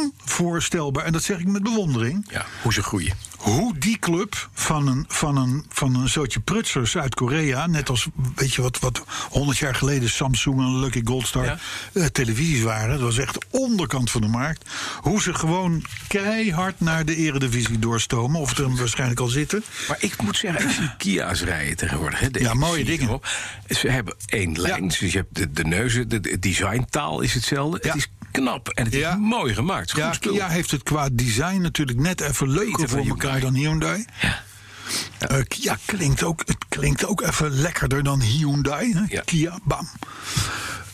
S4: onvoorstelbaar, en dat zeg ik met bewondering...
S2: Ja, hoe ze groeien.
S4: hoe die club van een, van een, van een zootje prutsers uit Korea... net als, weet je wat, wat 100 jaar geleden Samsung en Lucky Goldstar
S2: Ja.
S4: eh, televisies waren... dat was echt onderkant van de markt... hoe ze gewoon keihard naar de eredivisie doorstomen... of er waarschijnlijk al zitten.
S2: Maar ik moet zeggen, ik zie Kia's rijden tegenwoordig. Hè, de
S4: Ja, mooie
S2: zie
S4: dingen.
S2: erop. Ze hebben één lijn, dus je hebt de, de neuzen, de, de designtaal is hetzelfde.
S4: Ja.
S2: Het is knap en het
S4: Ja.
S2: is mooi gemaakt. Het is
S4: Ja,
S2: goed spul.
S4: Kia heeft het qua design natuurlijk net even
S2: Beter
S4: leuker voor
S2: dan
S4: elkaar dan Hyundai.
S2: Ja.
S4: Eh, Kia klinkt ook, het klinkt ook even lekkerder dan Hyundai. hè?
S2: Ja.
S4: Kia, bam.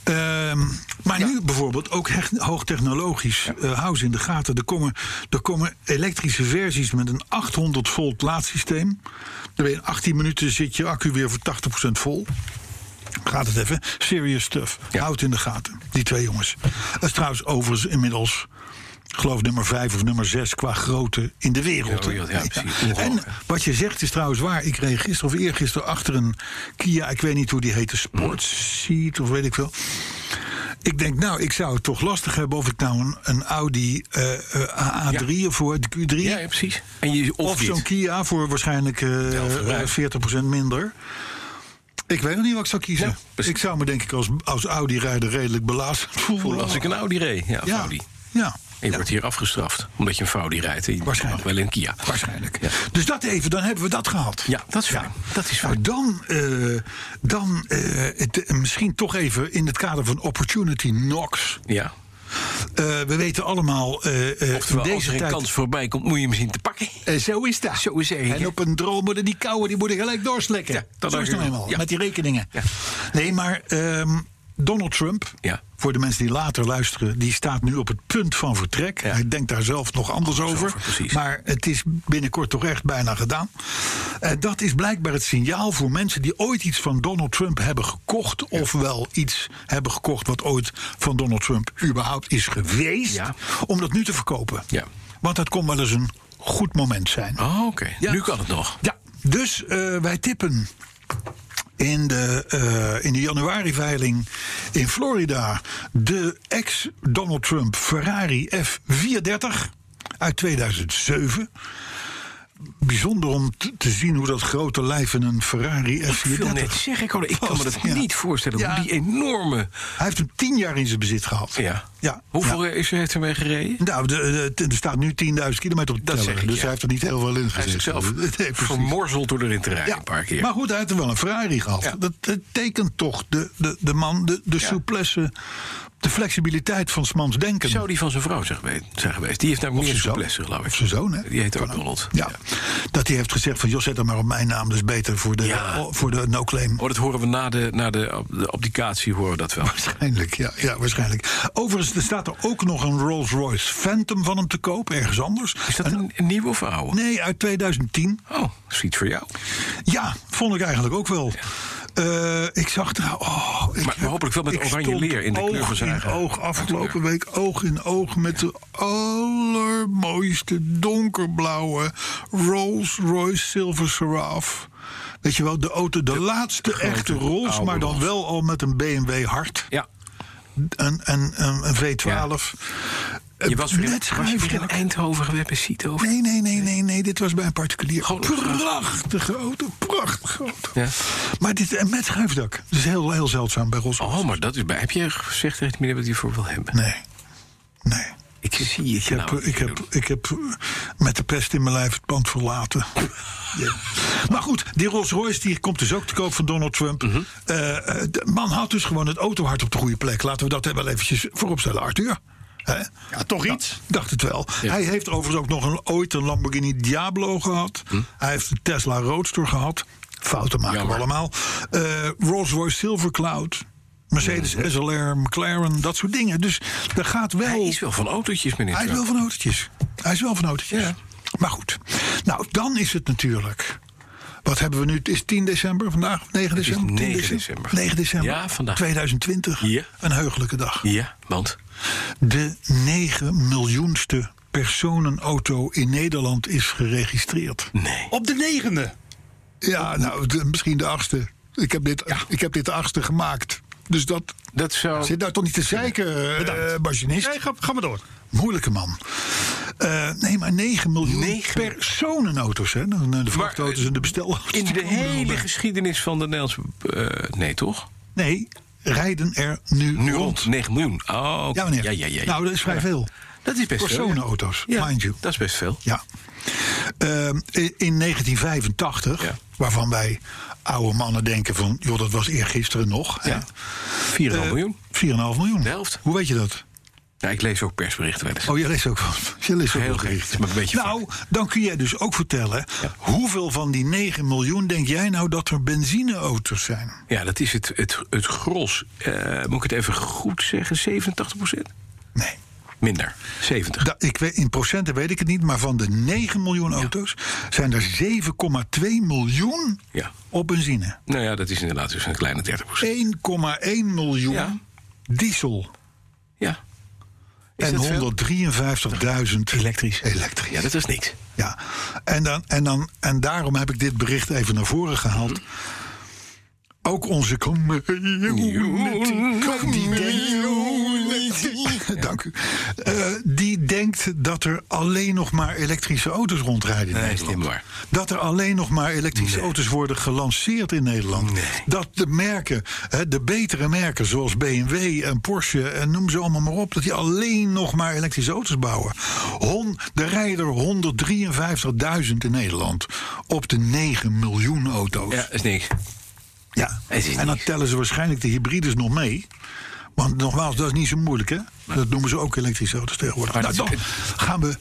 S4: Ehm, maar nu bijvoorbeeld ook hecht- hoogtechnologisch. eh hou ze in de gaten. Er komen, er komen elektrische versies met een 800 volt laadsysteem. Dan ben je in 18 minuten zit je accu weer voor 80% vol. Gaat het even. Serious stuff.
S2: Ja.
S4: Houd in de gaten. Die twee jongens. Dat is trouwens overigens inmiddels... ik geloof nummer 5 of nummer 6 qua grootte in de wereld.
S2: Ja, ja, precies. Ongelooflijk.
S4: En wat je zegt is trouwens waar. Ik reed gisteren of eergisteren achter een Kia... ik weet niet hoe die heette, Sportseat of weet ik veel. Ik denk, nou, ik zou het toch lastig hebben... of ik nou een, een Audi eh, eh, A3 of voor de Q3...
S2: Ja, ja, precies. En je, of
S4: Of
S2: dit.
S4: zo'n Kia voor waarschijnlijk eh,
S2: verbruik.
S4: 40% minder. Ik weet nog niet wat ik zou kiezen.
S2: Ja, precies.
S4: ik zou me denk ik als, als Audi-rijder redelijk belazerd voelen.
S2: Voel als ik een Audi reed. Ja, een
S4: ja,
S2: Audi.
S4: ja,
S2: En je wordt hier afgestraft, omdat je een Audi rijdt. Je
S4: Waarschijnlijk.
S2: mag wel een Kia.
S4: waarschijnlijk.
S2: Ja.
S4: Dus dat even, dan hebben we dat gehad.
S2: Ja, dat is fijn. Dat is
S4: Nou, dan, eh, dan eh, het, eh, misschien toch even in het kader van Opportunity Knox.
S2: Ja.
S4: Eh, we weten allemaal, eh, eh, in
S2: Oftewel, als
S4: deze
S2: er een
S4: tijd...
S2: kans voorbij komt, moet je hem zien te pakken.
S4: Eh, zo is dat.
S2: Zo is het, hè?
S4: En op een droom worden die kouwen, die moeten gelijk doorslikken.
S2: Ja, dat
S4: zo is het
S2: ook.
S4: nou eenmaal,
S2: Ja.
S4: met die rekeningen.
S2: Ja.
S4: Nee, maar ehm, Donald Trump,
S2: Ja.
S4: voor de mensen die later luisteren... die staat nu op het punt van vertrek.
S2: Ja.
S4: Hij denkt daar zelf nog anders over.
S2: over, precies.
S4: maar het is binnenkort toch echt bijna gedaan. Eh, dat is blijkbaar het signaal voor mensen die ooit iets van Donald Trump hebben gekocht... ofwel iets hebben gekocht wat ooit van Donald Trump überhaupt is geweest...
S2: Ja.
S4: om dat nu te verkopen.
S2: Ja.
S4: Want dat kon wel eens een goed moment zijn.
S2: Oh, oké. Nu kan het nog.
S4: Ja, dus eh, wij tippen in de, eh, in de januari-veiling in Florida de ex-Donald Trump Ferrari F430 uit 2007. Bijzonder om t- te zien hoe dat grote lijf in een Ferrari
S2: Ik wil
S4: F430.
S2: net zeggen, ik, hoorde- ik kan me dat
S4: Vast, ja.
S2: niet voorstellen.
S4: Ja.
S2: Hoe die enorme...
S4: Hij heeft hem tien jaar in zijn bezit gehad.
S2: Ja.
S4: ja.
S2: Hoeveel
S4: Ja.
S2: is er heeft hij mee gereden?
S4: Nou, de- de- er staat nu 10.000 kilometer op de
S2: Dat
S4: teller.
S2: zeg ik,
S4: dus
S2: ja.
S4: hij heeft er niet heel veel in gezet.
S2: Hij is zichzelf
S4: Nee, precies.
S2: vermorzeld door erin te rijden een paar keer.
S4: Maar goed, hij heeft er wel een Ferrari gehad.
S2: Ja.
S4: Dat, dat tekent toch de, de, de man, de, de
S2: Ja.
S4: souplesse, de flexibiliteit van 's mans denken.
S2: Zou die van zijn vrouw zijn geweest? zijn geweest? Die heeft daar meer
S4: zijn zoon.
S2: souplesse, geloof ik.
S4: Of zijn zoon, hè?
S2: Die heet ook
S4: Kan ook.
S2: Donald.
S4: ja. Dat hij heeft gezegd van, joh, zet hem maar op mijn naam. Dat is beter voor de,
S2: Ja.
S4: oh, voor de no-claim.
S2: Oh, dat horen we na de, na de, op- de abdicatie, horen we dat wel.
S4: Waarschijnlijk, ja, ja, waarschijnlijk. Overigens, er staat er ook nog een Rolls-Royce Phantom van hem te koop, ergens anders.
S2: Is dat een, een nieuwe of een oude?
S4: Nee, uit 2010.
S2: Oh, dat is iets voor jou.
S4: Ja, vond ik eigenlijk ook wel. Eh, ik zag er. Oh, ik
S2: Maar
S4: heb-
S2: hopelijk wel met
S4: ik
S2: oranje
S4: stond
S2: leer in de
S4: oog
S2: kleur van zijn
S4: in
S2: eigen-
S4: oog afgelopen week oog in oog met de allermooiste donkerblauwe Rolls Royce Silver Seraf. Weet je wel, de auto, de, laatste echte Rolls,
S2: oude
S4: maar dan
S2: Rolls.
S4: wel al met een BMW hart.
S2: Ja.
S4: Een, een, een, een V12. Eh,
S2: Je was weer,
S4: net
S2: was je weer in
S4: schuifraak.
S2: Eindhoven geweest bij Cito? of-
S4: Nee, nee, nee, nee, nee. Dit was bij een particulier.
S2: Gewoon een
S4: prachtige auto, prachtige auto.
S2: Ja.
S4: Maar dit eh, met schuifdak. Dat is heel, heel zeldzaam bij Rolls.
S2: Oh, maar dat is, bij- heb je gezegd tegen die meneer wat hij voor wil hebben?
S4: Nee, nee.
S2: Ik zie het
S4: Ik heb,
S2: nou.
S4: ik, heb, ik heb eh, met de pest in mijn lijf het pand verlaten. Ja. Maar goed, die Rolls Royce die komt dus ook te koop van Donald Trump.
S2: Mhm.
S4: Eh, eh, de man had dus gewoon het autohart op de goede plek. Laten we dat wel eventjes vooropstellen, Arthur. Hè?
S3: Ja, toch iets.
S4: Dacht het wel. Hij heeft overigens ook nog een, ooit een Lamborghini Diablo gehad. Hij heeft een Tesla Roadster gehad. Fouten maken
S2: Hm? Jammer.
S4: we allemaal. Eh, Rolls-Royce Silver Cloud. Mercedes SLR, McLaren, dat soort dingen. Dus er gaat wel...
S2: Hij is wel van autootjes, meneer.
S4: Hij is
S2: Trump.
S4: wel van autootjes. Hij is wel van autootjes.
S2: Ja.
S4: Maar goed. Nou, dan is het natuurlijk. Wat hebben we nu? Het is 10 december vandaag? 9
S2: is
S4: december? 10
S2: 9 december.
S4: 9 december.
S2: Ja, vandaag.
S4: 2020.
S2: Ja.
S4: Een heugelijke dag.
S2: Ja, want...
S4: De 9 miljoenste personenauto in Nederland is geregistreerd.
S2: Nee.
S3: Op de negende.
S2: Oh.
S4: Ja, nou, de- misschien de achtste. Ik heb dit, ik heb dit de achtste gemaakt. Dus dat
S2: Dat zou...
S4: zit daar toch niet te zeiken, eh, machinist.
S3: Nee, ga, ga maar door.
S4: Moeilijke man. Eh, nee, maar 9 miljoen
S2: Negen- eh,
S4: personenauto's. Hè? eh, De- De vrachtauto's en de bestelauto's.
S2: In
S4: die
S2: de
S4: komen er wel
S2: hele
S4: bij.
S2: geschiedenis van de Nederlandse... eh, nee, toch?
S4: Nee, rijden er nu,
S2: Nu
S4: rond.
S2: rond. 9 miljoen. Oh, oké.
S4: Ja, meneer.
S2: Ja, ja, ja, ja.
S4: Nou, dat is vrij veel.
S2: dat is best
S4: Personenauto's,
S2: veel. ja. Ja,
S4: mind you.
S2: Dat is best veel.
S4: Ja. Ehm, i- in 1985,
S2: Ja.
S4: waarvan wij oude mannen denken van... joh, dat was eergisteren nog. hè,
S2: Ja. 4,5
S4: Eh,
S2: miljoen.
S4: 4,5 miljoen.
S2: De helft.
S4: Hoe weet je dat?
S2: Ja, ik lees ook persberichten wel eens.
S4: Oh, jij leest ook van. Jij leest ook
S2: Heel
S4: wel
S2: gek,
S4: berichten.
S2: maar een beetje
S4: nou, dan kun jij dus ook vertellen... hoeveel van die 9 miljoen denk jij nou dat er benzineauto's zijn?
S2: Ja, dat is het, het, het gros. Eh, moet ik het even goed zeggen? 87
S4: Nee.
S2: Minder. 70.
S4: Da- ik weet, in procenten weet ik het niet, maar van de 9 miljoen auto's zijn er 7,2 miljoen
S2: Ja.
S4: op benzine.
S2: nou ja, dat is inderdaad dus een kleine 30
S4: 1,1 miljoen
S2: Ja.
S4: diesel.
S2: Ja. Is dat veel?
S4: En 153.000 elektrisch. elektrisch.
S2: Ja, dat is niks.
S4: Ja, en, dan, en, dan, en daarom heb ik dit bericht even naar voren gehaald. Ook onze community, community. Dank u. Eh, die denkt dat er alleen nog maar elektrische auto's rondrijden in
S2: Nee, is
S4: Nederland.
S2: niet waar.
S4: Dat er alleen nog maar elektrische auto's worden gelanceerd in Nederland. Dat de merken, hè, de betere merken zoals BMW en Porsche en noem ze allemaal maar op, dat die alleen nog maar elektrische auto's bouwen. Hon, er rijden er 153.000 in Nederland op de 9 miljoen auto's.
S2: Ja, is niks.
S4: Ja,
S2: Het is
S4: en dan
S2: niks.
S4: tellen ze waarschijnlijk de hybrides nog mee. Want nogmaals, dat is niet zo moeilijk, hè? Dat noemen ze ook elektrische auto's tegenwoordig.
S2: Maar
S4: Nou,
S2: dat
S4: dan
S2: is-
S4: gaan we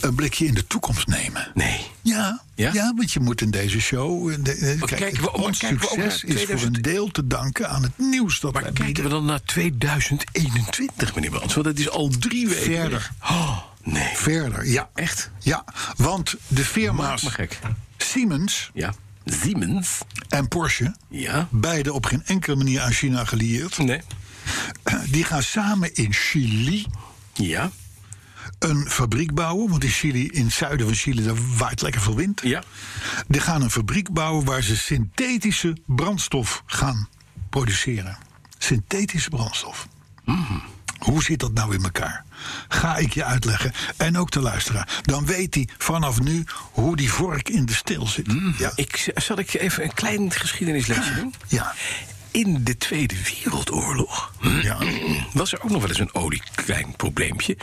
S4: een blikje in de toekomst nemen.
S2: Nee.
S4: Ja,
S2: Ja?
S4: ja? want je moet in deze show... in de- eh, kijk,
S2: kijken we- maar
S4: ons
S2: kijken we ook naar
S4: succes is voor
S2: 2000?
S4: een deel te danken aan het nieuws dat wij
S2: Maar kijken we
S4: bieden.
S2: dan naar 2021, meneer Brands? Want dat is al drie weken.
S4: Verder.
S2: weg. Oh, nee.
S4: Verder, ja.
S2: Echt?
S4: Ja, want de
S2: Maak me
S4: firma's
S2: gek.
S4: Siemens
S2: Ja. Siemens.
S4: en Porsche...
S2: Ja.
S4: beide op geen enkele manier aan China gelieerd...
S2: Nee.
S4: die gaan samen in Chili...
S2: Ja.
S4: een fabriek bouwen. Want in Chili, in het zuiden van Chili, daar waait lekker veel wind.
S2: Ja.
S4: Die gaan een fabriek bouwen waar ze synthetische brandstof gaan produceren. Synthetische brandstof.
S2: Mm-hmm.
S4: Hoe zit dat nou in elkaar? Ga ik je uitleggen. En ook de luisteraar. Dan weet hij vanaf nu hoe die vork in de steel zit. Ja.
S2: Mm-hmm. Ik, zal ik even een klein geschiedenislesje doen?
S4: Ja.
S2: In de Tweede Wereldoorlog hm,
S4: Ja.
S2: was er ook nog wel eens een olieklein probleempje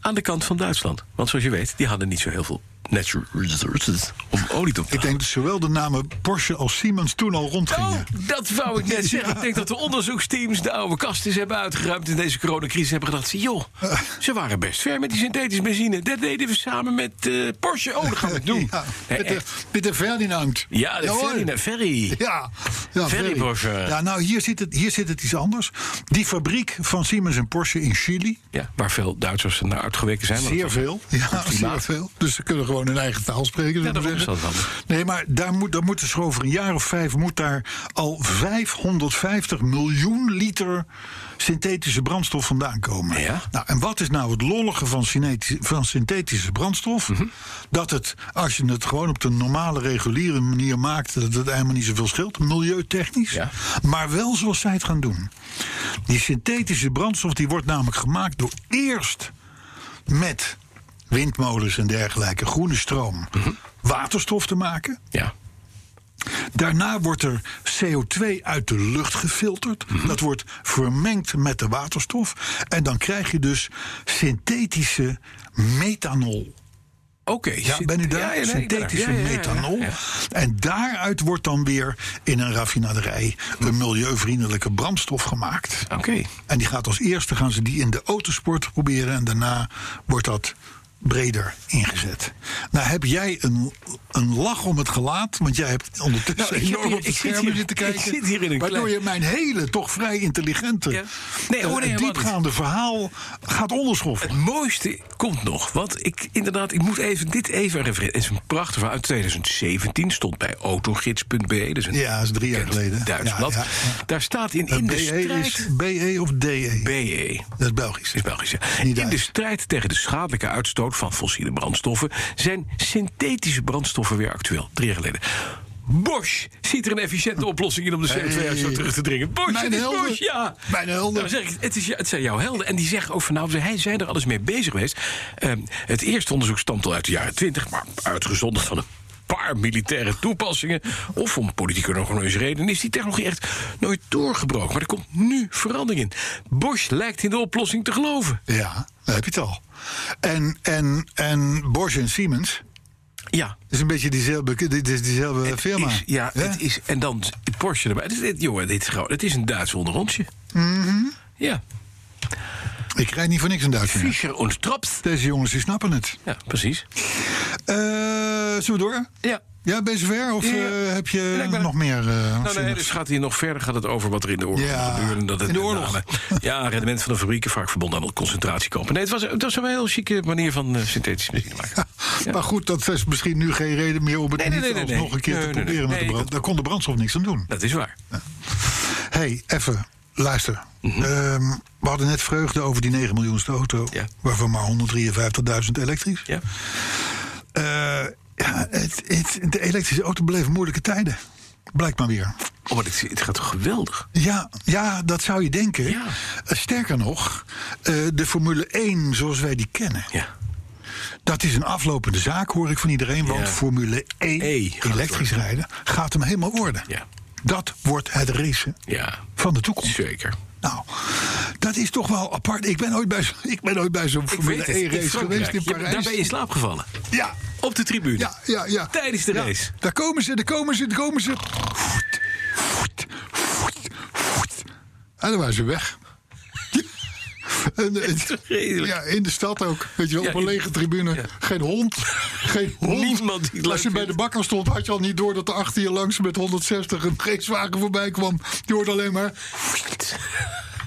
S2: aan de kant van Duitsland. Want zoals je weet, die hadden niet zo heel veel natural resources om olie te
S4: Ik
S2: ophalen.
S4: denk dat zowel de namen Porsche als Siemens toen al rondgingen.
S2: Oh, dat wou ik net zeggen. Ik denk dat de onderzoeksteams de oude kasten eens hebben uitgeruimd in deze coronacrisis. Hebben gedacht, joh, ze waren best ver met die synthetische benzine. Dat deden we samen met eh, Porsche. Oh, dat gaan we doen.
S4: Ja,
S2: Nee,
S4: met, de,
S2: echt.
S4: met de Ferdinand.
S2: ja de
S4: hoor.
S2: ferry. de ferry.
S4: Ja, ja
S2: Ferry Porsche.
S4: Ja, nou, hier zit, het, hier zit het iets anders. Die fabriek van Siemens en Porsche in Chili.
S2: Ja, waar veel Duitsers naar uitgeweken zijn. want
S4: Zeer
S2: het
S4: veel. Ja, zeer
S2: klimaat.
S4: veel. Dus ze kunnen gewoon hun eigen taal spreken. zullen we
S2: daarom
S4: zeggen.
S2: is dat handig.
S4: nee, maar daar, moet, daar moeten ze over een jaar of vijf... moet daar al 550 miljoen liter synthetische brandstof vandaan komen.
S2: Ja.
S4: Nou, en wat is nou het lollige van, synthetische- van synthetische brandstof? Dat het, als je het gewoon op de normale, reguliere manier maakt... dat het helemaal niet zoveel scheelt, milieutechnisch.
S2: Ja.
S4: Maar wel zoals zij het gaan doen. Die synthetische brandstof die wordt namelijk gemaakt door eerst met windmolens en dergelijke groene stroom waterstof te maken.
S2: Ja.
S4: Daarna wordt er CO2 uit de lucht gefilterd.
S2: Mhm.
S4: Dat wordt vermengd met de waterstof. En dan krijg je dus synthetische methanol.
S2: Oké.
S4: Ja, ben u daar?
S2: Ja, ja, nee, ik ben er.
S4: Synthetische
S2: Ja, ja, ja, ja.
S4: methanol.
S2: Ja.
S4: En daaruit wordt dan weer in een raffinaderij
S2: Mhm.
S4: een milieuvriendelijke brandstof gemaakt.
S2: Oké.
S4: En die gaat als eerste gaan ze die in de autosport proberen. En daarna wordt dat breder ingezet. Nou heb jij een, een lach om het gelaat. Want jij hebt
S2: Nou,
S4: ondertussen
S2: ik heb
S4: enorm
S2: hier-
S4: op de
S2: ik zit
S4: schermen
S2: hier-
S4: zitten
S2: ik
S4: kijken.
S2: zit hier in een
S4: waardoor
S2: klein-
S4: je mijn hele, toch vrij intelligente,
S2: Ja. Nee,
S4: eh,
S2: hoor, nee, helemaal
S4: diepgaande verhaal gaat onderschoffen.
S2: Het mooiste komt nog. Want ik inderdaad, ik moet even dit even refereren. Het is een prachtig verhaal. Uit 2017 stond bij autogids.be. Dus een
S4: Ja, dat is drie jaar
S2: bekend
S4: geleden.
S2: Duits
S4: Ja,
S2: blad.
S4: ja, ja.
S2: Daar staat in, in de
S4: BE
S2: strijd.
S4: E is BE of DE?
S2: BE.
S4: Dat is Belgisch.
S2: Is Belgisch, ja.
S4: Niet
S2: In de
S4: Duits.
S2: strijd tegen de schadelijke uitstoot van fossiele brandstoffen zijn synthetische brandstoffen weer actueel. Drie jaar geleden. Bosch ziet er een efficiënte oplossing in om de CO2-uitstoot terug te dringen. Bosch,
S4: Mijn
S2: het is
S4: helden.
S2: Bosch, ja.
S4: Mijn helden.
S2: Nou, zeg ik, het, is, het zijn jouw helden. En die zeggen ook van nou, hij zijn er alles mee bezig geweest. Ehm, het eerste onderzoek stamt al uit de jaren 20, maar uitgezonden van een paar militaire toepassingen. Of om politieke en economische redenen is die technologie echt nooit doorgebroken. Maar er komt nu verandering in. Bosch lijkt in de oplossing te geloven.
S4: Ja, daar heb je het al. En, en, en Bosch en Siemens.
S2: Ja,
S4: is een beetje diezelfde, dit is diezelfde firma.
S2: Is- ja,
S4: hè?
S2: het is. En dan Porsche erbij. Dit, dit, jongen, dit is gewoon. Het is een Duits onderrondje. Ja.
S4: Ik rijd niet voor niks in Duitsland.
S2: Fischer und Traps.
S4: Deze jongens die snappen het.
S2: Ja, precies.
S4: Eh, zullen we door?
S2: Ja.
S4: Ja, ben je zover? Of
S2: Ja.
S4: eh, heb je
S2: Nee, ik ben-
S4: nog meer? eh,
S2: Nou, nee,
S4: zinnigs?
S2: dus gaat hier nog verder gaat het over wat er in de oorlog
S4: Ja,
S2: gebeurde. en Dat het
S4: in de
S2: met
S4: oorlog.
S2: name- ja, rendement van de fabrieken, vaak verbonden aan concentratiekampen. Nee, het was, het was een heel chique manier van eh, synthetische muziek te maken. Ja.
S4: Maar goed, dat is misschien nu geen reden meer om het
S2: Nee, nee, nee,
S4: niet
S2: nee,
S4: nog
S2: nee.
S4: een keer
S2: Nee,
S4: te
S2: nee, nee.
S4: proberen met
S2: Nee,
S4: de brand.
S2: dat-
S4: Daar kon de brandstof niks aan doen.
S2: Dat is waar.
S4: Hé, hey, even, luister.
S2: Mhm.
S4: Ehm, we hadden net vreugde over die 9 miljoenste auto.
S2: Ja.
S4: Waarvan maar 153.000 elektrisch.
S2: Ja.
S4: Eh, ja, het, het, de elektrische auto beleven moeilijke tijden. Blijkbaar weer.
S2: Oh, maar het, het gaat toch geweldig?
S4: Ja, ja, dat zou je denken.
S2: Ja.
S4: Eh, Sterker nog, eh, de Formule 1 zoals wij die kennen...
S2: Ja.
S4: dat is een aflopende zaak, hoor ik van iedereen. Want
S2: Ja.
S4: Formule 1,
S2: E gaat
S4: elektrisch
S2: worden.
S4: rijden, gaat hem helemaal worden.
S2: Ja.
S4: Dat wordt het racen
S2: Ja,
S4: van de toekomst.
S2: zeker.
S4: Nou, dat is toch wel apart. Ik ben ooit bij, zo- ik ben ooit bij zo'n
S2: Ik
S4: Formule
S2: weet het. In
S4: 1-race geweest
S2: Frankrijk.
S4: in
S2: Je bent-
S4: Parijs.
S2: Daar ben je in slaap gevallen.
S4: Ja,
S2: Op de tribune.
S4: ja, ja, ja.
S2: Tijdens de
S4: Ja,
S2: race.
S4: Daar komen ze, daar komen ze, daar komen ze. Voet, voet, voet, voet. En dan waren ze weg. En, eh,
S2: toch redelijk?
S4: ja, in de stad ook. Weet je wel,
S2: Ja,
S4: op een
S2: in-
S4: lege tribune.
S2: ja.
S4: Geen hond. Geen hond.
S2: Niemand die het leuk
S4: Als je bij de
S2: vindt.
S4: bakker stond, had je al niet door dat er achter je langs met 160 een racewagen voorbij kwam. Je hoorde alleen maar.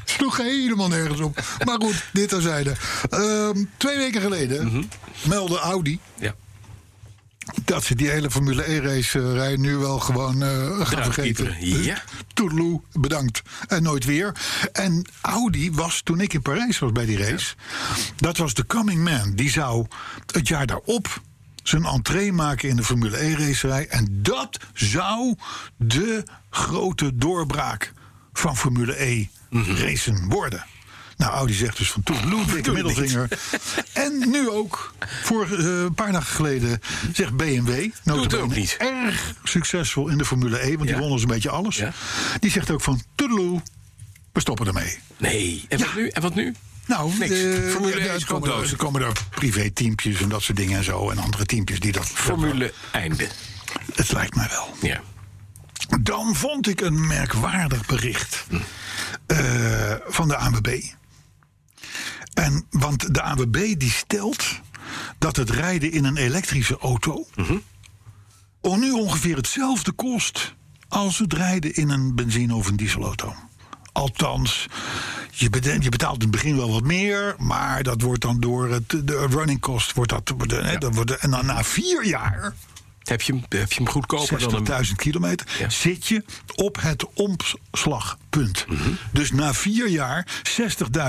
S4: Sloeg helemaal nergens op. Maar goed, dit terzijde. Ehm twee weken geleden
S2: Mhm.
S4: meldde Audi
S2: Ja.
S4: dat ze die hele Formule E 1-race rij nu wel gewoon eh, gaan vergeten.
S2: pieperen, ja.
S4: Toedeloe, bedankt. En nooit weer. En Audi was, toen ik in Parijs was bij die race... dat was de coming man. Die zou het jaar daarop zijn entree maken in de Formule 1-racerij. En dat zou de grote doorbraak van Formule
S2: Mhm.
S4: 1-racen worden. Nou, Audi zegt dus van toedeloe, dikke middelvinger. En nu ook, voor eh, een paar dagen geleden, zegt BMW...
S2: het
S4: notabene
S2: ook niet.
S4: Erg succesvol in de Formule 1, want die
S2: Ja.
S4: wonnen zo'n beetje alles.
S2: Ja.
S4: Die zegt ook van toedeloe, we stoppen ermee.
S2: Nee. En wat nu? En wat nu?
S4: Nou,
S2: Niks.
S4: eh,
S2: Formule
S4: ja,
S2: 1 is
S4: er
S2: gewoon
S4: komen, er-
S2: dood.
S4: er komen daar privé-teampjes en dat soort dingen en zo. En andere teampjes die dat...
S2: Formule einde.
S4: Het lijkt mij wel.
S2: Ja.
S4: Dan vond ik een merkwaardig bericht eh, van de ANWB. En, want de ANWB die stelt dat het rijden in een elektrische auto... on- nu ongeveer hetzelfde kost als het rijden in een benzine- of een dieselauto. Althans, je bede- je betaalt in het begin wel wat meer... maar dat wordt dan door het, de running cost... Wordt dat, wordt, hè, dat wordt, en dan na vier jaar...
S2: Heb je hem, heb je hem goedkoper dan een...
S4: 60.000 kilometer,
S2: Ja.
S4: zit je op het omslagpunt.
S2: Mhm.
S4: Dus na vier jaar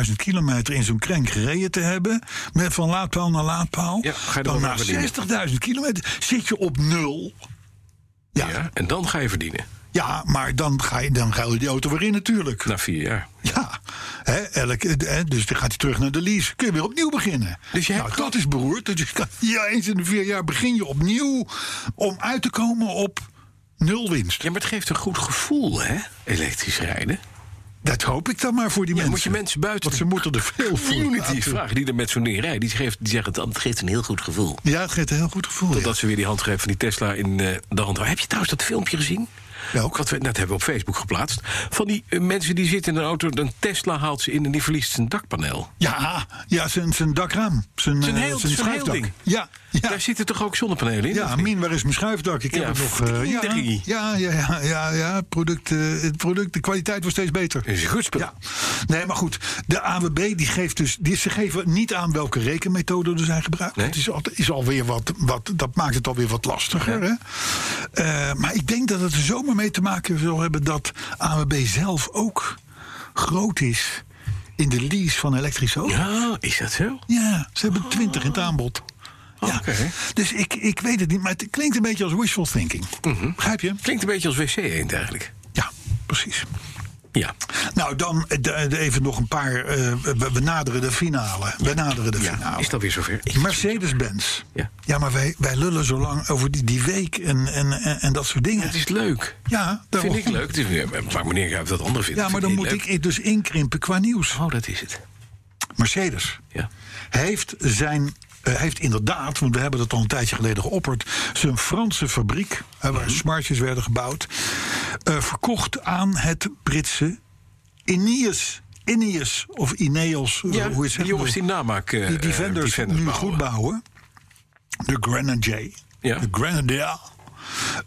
S4: 60.000 kilometer in zo'n krenk gereden te hebben... met van laadpaal naar laadpaal...
S2: Ja, ga je er
S4: dan
S2: wel
S4: na
S2: mee verdienen.
S4: 60.000 kilometer zit je op nul. Ja, ja.
S2: Ja, en dan ga je verdienen.
S4: maar dan ga, je, dan ga je die auto weer in natuurlijk.
S2: Na vier jaar.
S4: Ja, hè, elk, hè, dus dan gaat hij terug naar de lease. Kun je weer opnieuw beginnen.
S2: Dus je hebt
S4: nou,
S2: gewoon-
S4: dat is beroerd. Dat je, kan- ja, eens in de vier jaar begin je opnieuw om uit te komen op nul winst.
S2: Ja, maar het geeft een goed gevoel, hè? Elektrisch rijden.
S4: Dat hoop ik dan maar voor die
S2: Ja,
S4: mensen.
S2: moet je mensen buiten
S4: Want ze moeten er veel voor.
S2: community
S4: laten.
S2: vragen die er met zo'n ding rijden. Die, geeft, die zeggen dan, het geeft een heel goed gevoel.
S4: Ja, het geeft een heel goed gevoel. ja.
S2: Dat ze weer die handgreep van die Tesla in eh, de hand houden. Heb je trouwens dat filmpje gezien?
S4: Welk?
S2: Wat we net hebben we op Facebook geplaatst. Van die eh, mensen die zitten in een auto, een Tesla haalt ze in en die verliest zijn dakpaneel.
S4: Ja, ja zijn, zijn dakraam. Zijn,
S2: Zijn
S4: eh,
S2: heel-
S4: zijn
S2: zijn heel
S4: schuifdak.
S2: ding.
S4: Ja, ja.
S2: Daar zitten toch ook zonnepanelen in?
S4: Ja,
S2: of niet?
S4: Min, waar is mijn schuifdak? Ik heb
S2: Ja,
S4: het nog. eh,
S2: drie.
S4: ja, ja, ja, ja, ja. Product, eh, het product, de kwaliteit wordt steeds beter.
S2: Is een goed spul.
S4: Ja. Nee, maar goed. De AWB die geeft dus. Die, ze geven niet aan welke rekenmethode er zijn gebruikt.
S2: Nee.
S4: Dat, is al, is alweer wat, wat, dat maakt het alweer wat lastiger. Hè? Eh, maar ik denk dat het er zomaar mee te maken zal hebben dat AWB zelf ook groot is in de lease van elektrische auto's.
S2: Ja, is dat zo?
S4: Ja, ze hebben 20 in het aanbod.
S2: Oké.
S4: Dus ik, ik weet het niet, maar het klinkt een beetje als wishful thinking.
S2: Mhm.
S4: Begrijp je?
S2: Klinkt een beetje als wc-eend eigenlijk.
S4: Ja, precies.
S2: Ja.
S4: Nou, dan eh, de- de- even nog een paar. eh, we, we naderen de finale. We naderen de
S2: ja.
S4: finale.
S2: Is dat weer zover? Ik-
S4: Mercedes-Benz.
S2: Ja.
S4: maar wij, wij lullen zo lang over die, die week en, en, en, en dat soort dingen.
S2: Het is leuk.
S4: ja,
S2: Dat
S4: daarom.
S2: vind ik leuk. Het is- eh, Maar meneer Guyp dat andere vindt.
S4: Ja, maar
S2: vindt
S4: dan
S2: hij
S4: moet
S2: leuk.
S4: ik dus inkrimpen qua nieuws.
S2: Oh, dat is het.
S4: Mercedes
S2: Ja.
S4: heeft zijn. eh, heeft inderdaad, want we hebben dat al een tijdje geleden geopperd. zijn Franse fabriek, eh,
S2: Mhm.
S4: waar smartjes werden gebouwd. eh, verkocht aan het Britse Ineos. Ineos of Ineos, eh, hoe is
S2: die
S4: het?
S2: jongens die namaak... eh,
S4: die
S2: eh,
S4: Defenders,
S2: Defenders
S4: nu
S2: bouwen.
S4: goed bouwen. De Grenadier.
S2: Ja.
S4: De Grenadier.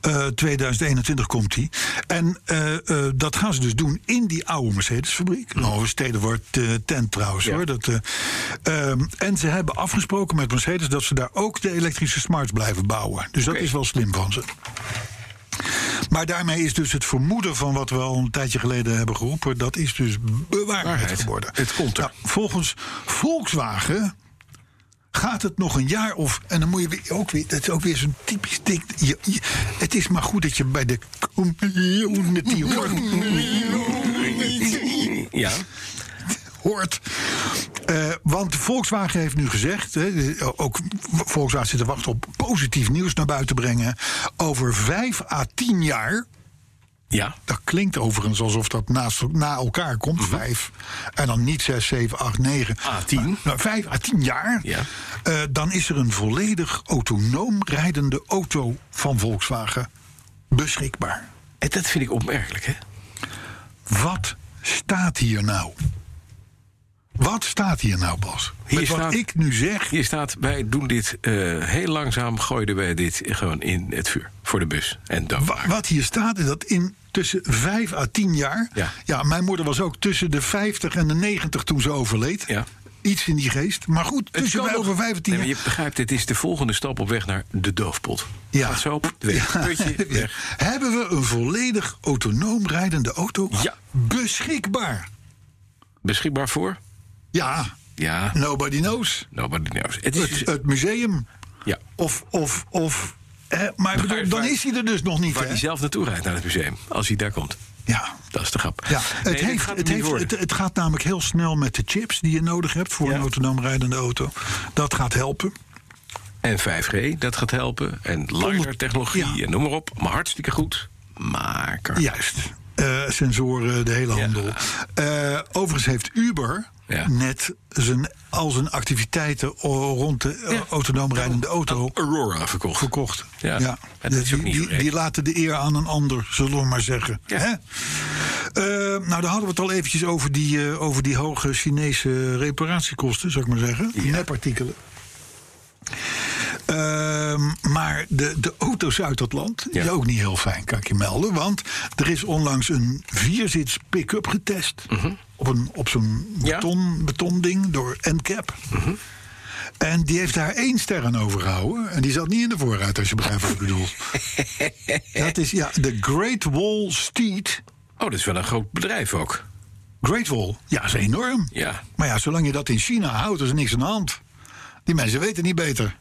S4: Eh, 2021 komt die. En eh, eh, dat gaan ze dus doen in die oude Mercedes-fabriek. Nou, een stedenwoord eh, tent trouwens hoor. Dat, eh, ehm, en ze hebben afgesproken met Mercedes dat ze daar ook de elektrische smarts blijven bouwen. Dus dat is wel slim van ze. Maar daarmee is dus het vermoeden van wat we al een tijdje geleden hebben geroepen, dat is dus bewaarheid
S2: Waarheid.
S4: geworden.
S2: Het komt er.
S4: Nou, volgens Volkswagen gaat het nog een jaar of. En dan moet je weer, ook weer. Dat is ook weer zo'n typisch ding. Je- je- het is maar goed dat je bij de community hoort.
S2: Ja.
S4: hoort. Eh, want Volkswagen heeft nu gezegd, hè, de- ook Volkswagen zit te wachten op positief nieuws naar buiten brengen. Over vijf à tien jaar,
S2: Ja.
S4: dat klinkt overigens alsof dat naast, na elkaar komt, vijf. En dan niet zes, zeven, acht, negen.
S2: À Mhm. Ah, tien.
S4: Maar, nou, vijf à tien jaar.
S2: Ja.
S4: eh, dan is er een volledig autonoom rijdende auto van Volkswagen beschikbaar.
S2: En dat vind ik opmerkelijk, hè?
S4: Wat staat hier nou? Wat staat hier nou, Bas?
S2: Hier
S4: Met
S2: staat-
S4: wat ik nu zeg.
S2: Hier staat, wij doen dit eh, heel langzaam, gooiden wij dit gewoon in het vuur. Voor de bus. En dan
S4: wa- Wat hier staat is dat in tussen 5 à 10 jaar.
S2: Ja.
S4: mijn moeder was ook tussen de 50 en de 90 toen ze overleed.
S2: Ja.
S4: Iets in die geest. Maar goed,
S2: Het
S4: tussen
S2: kan
S4: 5
S2: nog.
S4: en 5 en 10
S2: Nee, maar
S4: jaar.
S2: je begrijpt, dit is de volgende stap op weg naar de doofpot.
S4: Ja.
S2: Gaat zo, pff, weg.
S4: Ja.
S2: Putje, weg.
S4: Hebben we een volledig autonoom rijdende auto
S2: Ja.
S4: beschikbaar?
S2: Beschikbaar voor?
S4: Ja,
S2: Ja.
S4: nobody knows.
S2: Nobody knows. Het is,
S4: Nou.
S2: dus-
S4: Het, het museum.
S2: ja.
S4: Of, of, of. Hè, maar ik bedoel,
S2: Waar-
S4: dan
S2: waar-
S4: is hij er dus nog niet.
S2: Waar
S4: Hè?
S2: hij zelf naartoe rijdt naar het museum. Als hij daar komt.
S4: Ja.
S2: Dat is de grap.
S4: Ja,
S2: Nee,
S4: het,
S2: dit
S4: heeft,
S2: gaat hem
S4: het,
S2: niet
S4: heeft,
S2: worden.
S4: het, het gaat namelijk heel snel met de chips die je nodig hebt voor
S2: Ja.
S4: een autonoom rijdende auto. Dat gaat helpen.
S2: En 5G, dat gaat helpen. En LiDAR-technologie,
S4: Ja.
S2: en noem maar op. Maar hartstikke goed. Maar...
S4: Juist. Eh, sensoren, de hele
S2: Ja.
S4: handel. Eh, overigens heeft Uber
S2: Ja.
S4: net zijn, al zijn activiteiten o- rond de eh,
S2: Ja. Oh,
S4: autonoom rijdende auto
S2: Aurora verkocht.
S4: verkocht.
S2: Ja. En dat
S4: Die,
S2: is ook niet
S4: die-
S2: vreemd.
S4: die laten de eer aan een ander, zullen we maar zeggen.
S2: Ja.
S4: Hè? Eh, nou, daar hadden we het al eventjes over die, eh, over die hoge Chinese reparatiekosten, zou ik maar zeggen. Nepartikelen. Ehm, maar de, de auto's uit dat land
S2: Ja.
S4: is ook niet heel fijn, kan ik je melden. Want er is onlangs een vierzits pick-up getest.
S2: Mhm.
S4: Op, een- op zo'n
S2: Ja. Mhm.
S4: beton, betonding door NCAP. En die heeft daar één ster aan overgehouden. En die zat niet in de voorruit, als je begrijpt wat ik bedoel. dat is, ja, de Great Wall Steed.
S2: Oh, dat is wel een groot bedrijf ook.
S4: Great Wall, ja, is enorm.
S2: Ja.
S4: Maar ja, zolang je dat in China houdt, is er niks aan de hand. Die mensen weten niet beter.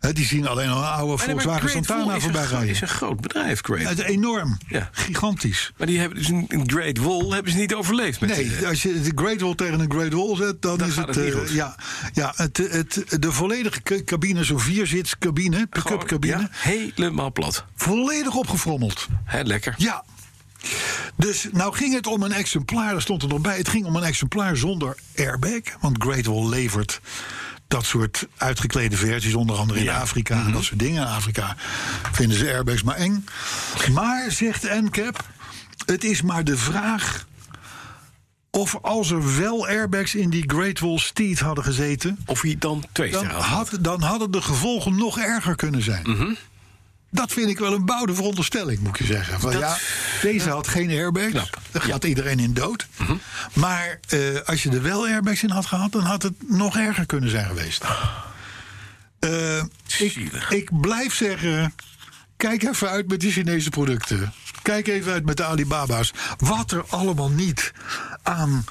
S4: Hè, die zien alleen al oude
S2: Maar nee, maar
S4: Volkswagen
S2: Great Wall
S4: Santana
S2: is een
S4: voorbij
S2: gro-
S4: rijden.
S2: is een groot bedrijf, Great.
S4: Het is enorm.
S2: Ja.
S4: Gigantisch.
S2: Maar die hebben dus een een Great Wall hebben ze niet overleefd. Met die-
S4: Nee, als je de Great Wall tegen een Great Wall zet, dan,
S2: eh, Dan
S4: is
S2: gaat
S4: het.
S2: het niet
S4: eh,
S2: goed.
S4: ja, ja het, het, de volledige k- cabine, zo'n vierzitscabine,
S2: Gewoon,
S4: pick-up cabine,
S2: ja, helemaal plat.
S4: volledig opgefrommeld.
S2: Hè, lekker.
S4: Ja. Dus nou ging het om een exemplaar, daar stond er nog bij. Het ging om een exemplaar zonder airbag. Want Great Wall levert dat soort uitgeklede versies, onder andere in Afrika en dat soort dingen. In Afrika vinden ze airbags maar eng. Maar, zegt NCAP, het is maar de vraag of als er wel airbags in die Great Wall Steed hadden gezeten,
S2: Of hij dan twee
S4: dan,
S2: sterren had.
S4: had, dan hadden de gevolgen nog erger kunnen zijn. Dat vind ik wel een boude veronderstelling, moet je zeggen. Van, ja, deze had geen airbags.
S2: Knap.
S4: Daar gaat iedereen in dood. Maar eh, als je er wel airbags in had gehad, dan had het nog erger kunnen zijn geweest. Eh,
S2: Zielig.
S4: ik, ik blijf zeggen. Kijk even uit met die Chinese producten. Kijk even uit met de Alibaba's. Wat er allemaal niet aan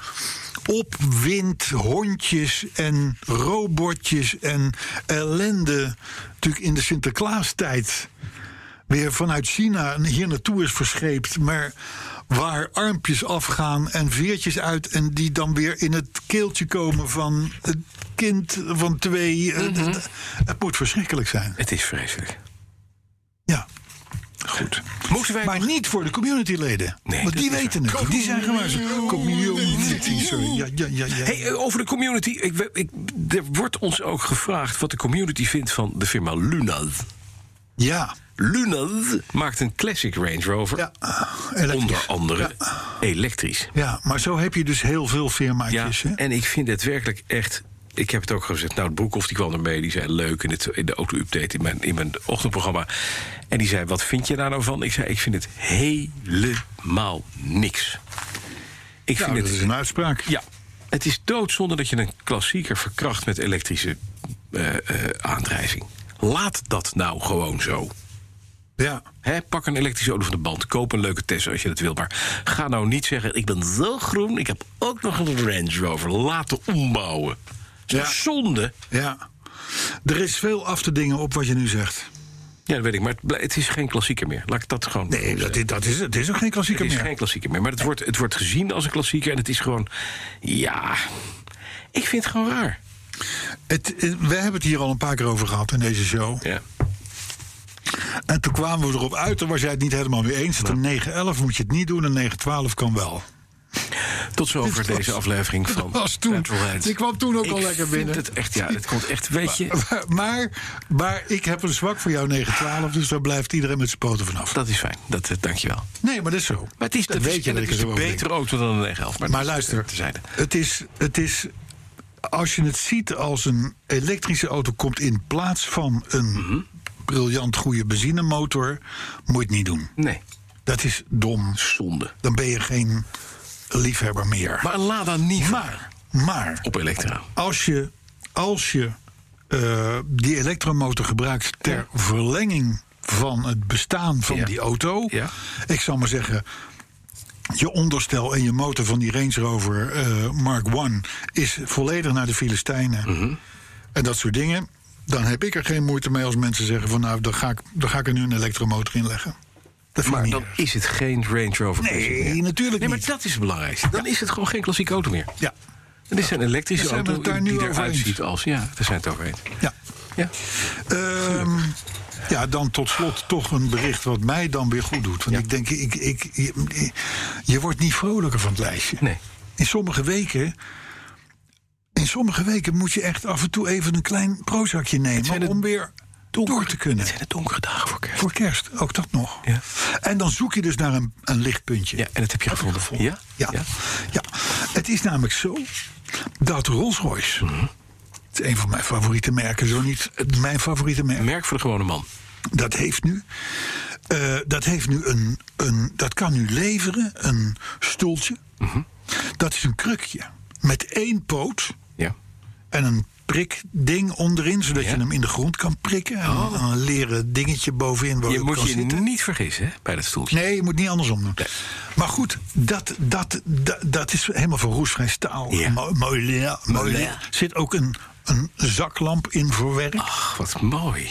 S4: opwind, hondjes en robotjes en ellende. Natuurlijk in de Sinterklaastijd weer vanuit China hier naartoe is verscheept. Maar waar armpjes afgaan en veertjes uit. en die dan weer in het keeltje komen van het kind van twee. Het, het moet verschrikkelijk zijn.
S2: Het is vreselijk.
S4: Ja.
S2: Goed. Moeten wij
S4: Maar niet voor de communityleden.
S2: Nee,
S4: want
S2: dat
S4: die
S2: is
S4: weten het. Die zijn gemuizen. Community, sorry. Ja, ja, ja, ja.
S2: Hey, eh, over de community. Ik, we- ik, er wordt ons ook gevraagd wat de community vindt van de firma Lunad.
S4: ja.
S2: Lunad maakt een classic Range Rover.
S4: ja. Eh, elektrisch.
S2: Onder andere elektrisch.
S4: Ja, maar zo heb je dus heel veel firmaatjes. hè?
S2: en ik vind het werkelijk echt. Ik heb het ook gezegd. Nou, Broekhoff die kwam ermee. Die zei leuk in, het, in de auto-update in mijn, in mijn ochtendprogramma. En die zei: Wat vind je daar nou van? Ik zei: Ik vind het helemaal niks. Ik
S4: Nou,
S2: vind
S4: dat
S2: het
S4: is een uitspraak.
S2: ja, het is doodzonde dat je een klassieker verkracht met elektrische eh, eh, aandrijving. Laat dat nou gewoon zo.
S4: Ja.
S2: Hè, pak een elektrische auto van de band. Koop een leuke Tesla als je dat wilt. Maar ga nou niet zeggen: Ik ben zo groen, ik heb ook nog een Range Rover. Laten ombouwen. Dat is
S4: Ja.
S2: Zonde.
S4: ja. Er is veel af te dingen op wat je nu zegt.
S2: Ja, dat weet ik. Maar het, bl- het is geen klassieker meer. Laat ik dat gewoon.
S4: Nee, dat is, dat is, het is ook geen klassieker
S2: Het is
S4: meer.
S2: geen klassieker meer. Maar het wordt, het wordt gezien als een klassieker. En het is gewoon. Ja. Ik vind het gewoon raar.
S4: Het, eh, we hebben het hier al een paar keer over gehad in deze show.
S2: Ja.
S4: En toen kwamen we erop uit, toen was jij het niet helemaal mee eens. Dat een 911 moet je het niet doen, een 912 kan wel.
S2: Tot zover
S4: Dit was-
S2: deze aflevering van
S4: was toen.
S2: Petrol Heads.
S4: Die kwam toen ook
S2: Ik
S4: al lekker
S2: vind
S4: binnen.
S2: Het echt, ja, het komt echt, weet je,
S4: Maar, maar ik heb een zwak voor jou 912, dus daar blijft iedereen met zijn poten vanaf.
S2: dat is fijn. Dat, eh, dankjewel. Maar
S4: Nee, maar dat is zo.
S2: het is,
S4: Dat
S2: dat is-
S4: weet je
S2: en
S4: dat
S2: het
S4: ik
S2: is
S4: er
S2: een
S4: zo over denk.
S2: betere auto dan een 911. Maar,
S4: Maar
S2: dat is
S4: luister,
S2: terzijde.
S4: het is, het is. Als je het ziet als een elektrische auto komt in plaats van een briljant goede benzinemotor, moet je het niet doen.
S2: Nee,
S4: Dat is dom.
S2: zonde.
S4: Dan ben je geen liefhebber meer.
S2: Maar een Lada niet
S4: maar, maar
S2: op elektra.
S4: als je, als je eh, die elektromotor gebruikt ter verlenging van het bestaan van
S2: Ja.
S4: die auto.
S2: Ja.
S4: Ik zal maar zeggen. Je onderstel en je motor van die Range Rover eh, Mark I is volledig naar de Filistijnen.
S2: Mhm.
S4: En dat soort dingen. Dan heb ik er geen moeite mee als mensen zeggen: van nou, dan ga ik, dan ga ik er nu een elektromotor in leggen. Dat vind ik
S2: Maar
S4: niet
S2: dan
S4: erg.
S2: is het geen Range Rover Classic
S4: Nee,
S2: meer.
S4: natuurlijk
S2: Nee, maar
S4: niet.
S2: dat is het belangrijkste. Dan is het gewoon geen klassieke auto meer.
S4: Ja.
S2: Het is een elektrische
S4: Dan zijn we
S2: auto
S4: het daar
S2: die
S4: nu over
S2: eruit
S4: eens.
S2: ziet als... Ja, daar zijn we het over eens.
S4: ja.
S2: Ja.
S4: Ehm, ja, dan tot slot toch een bericht wat mij dan weer goed doet. Want ik denk, ik, ik, je, je wordt niet vrolijker van het lijstje.
S2: Nee.
S4: In sommige weken. In sommige weken moet je echt af en toe even een klein prozakje nemen.
S2: zijn het
S4: om weer door te kunnen.
S2: Het zijn de donkere dagen voor kerst.
S4: Voor kerst, ook dat nog.
S2: Ja.
S4: En dan zoek je dus naar een, een lichtpuntje.
S2: Ja, en dat heb je Oh, gevonden. Ja?
S4: Ja. Ja. Het is namelijk zo dat Rolls-Royce.
S2: Mhm.
S4: Het is een van mijn favoriete merken, zo niet mijn favoriete merk.
S2: Merk voor de gewone man.
S4: Dat heeft nu, eh, dat heeft nu een, een. Dat kan nu leveren een stoeltje.
S2: Mhm.
S4: Dat is een krukje met één poot
S2: Ja.
S4: en een prikding onderin, zodat
S2: Ja. Oh.
S4: je hem in de grond kan prikken. En een- een leren dingetje bovenin waar
S2: Je
S4: je op
S2: moet
S4: kan
S2: je
S4: zitten.
S2: niet vergissen hè, bij dat stoeltje.
S4: Nee, je moet niet andersom doen. Maar goed, dat, dat, dat, dat is helemaal van roestvrij staal.
S2: Ja.
S4: Mo- Mooi leer. mooi
S2: Mooi
S4: leer.
S2: leer.
S4: Zit ook een, een zaklamp in verwerkt.
S2: Ach, wat mooi.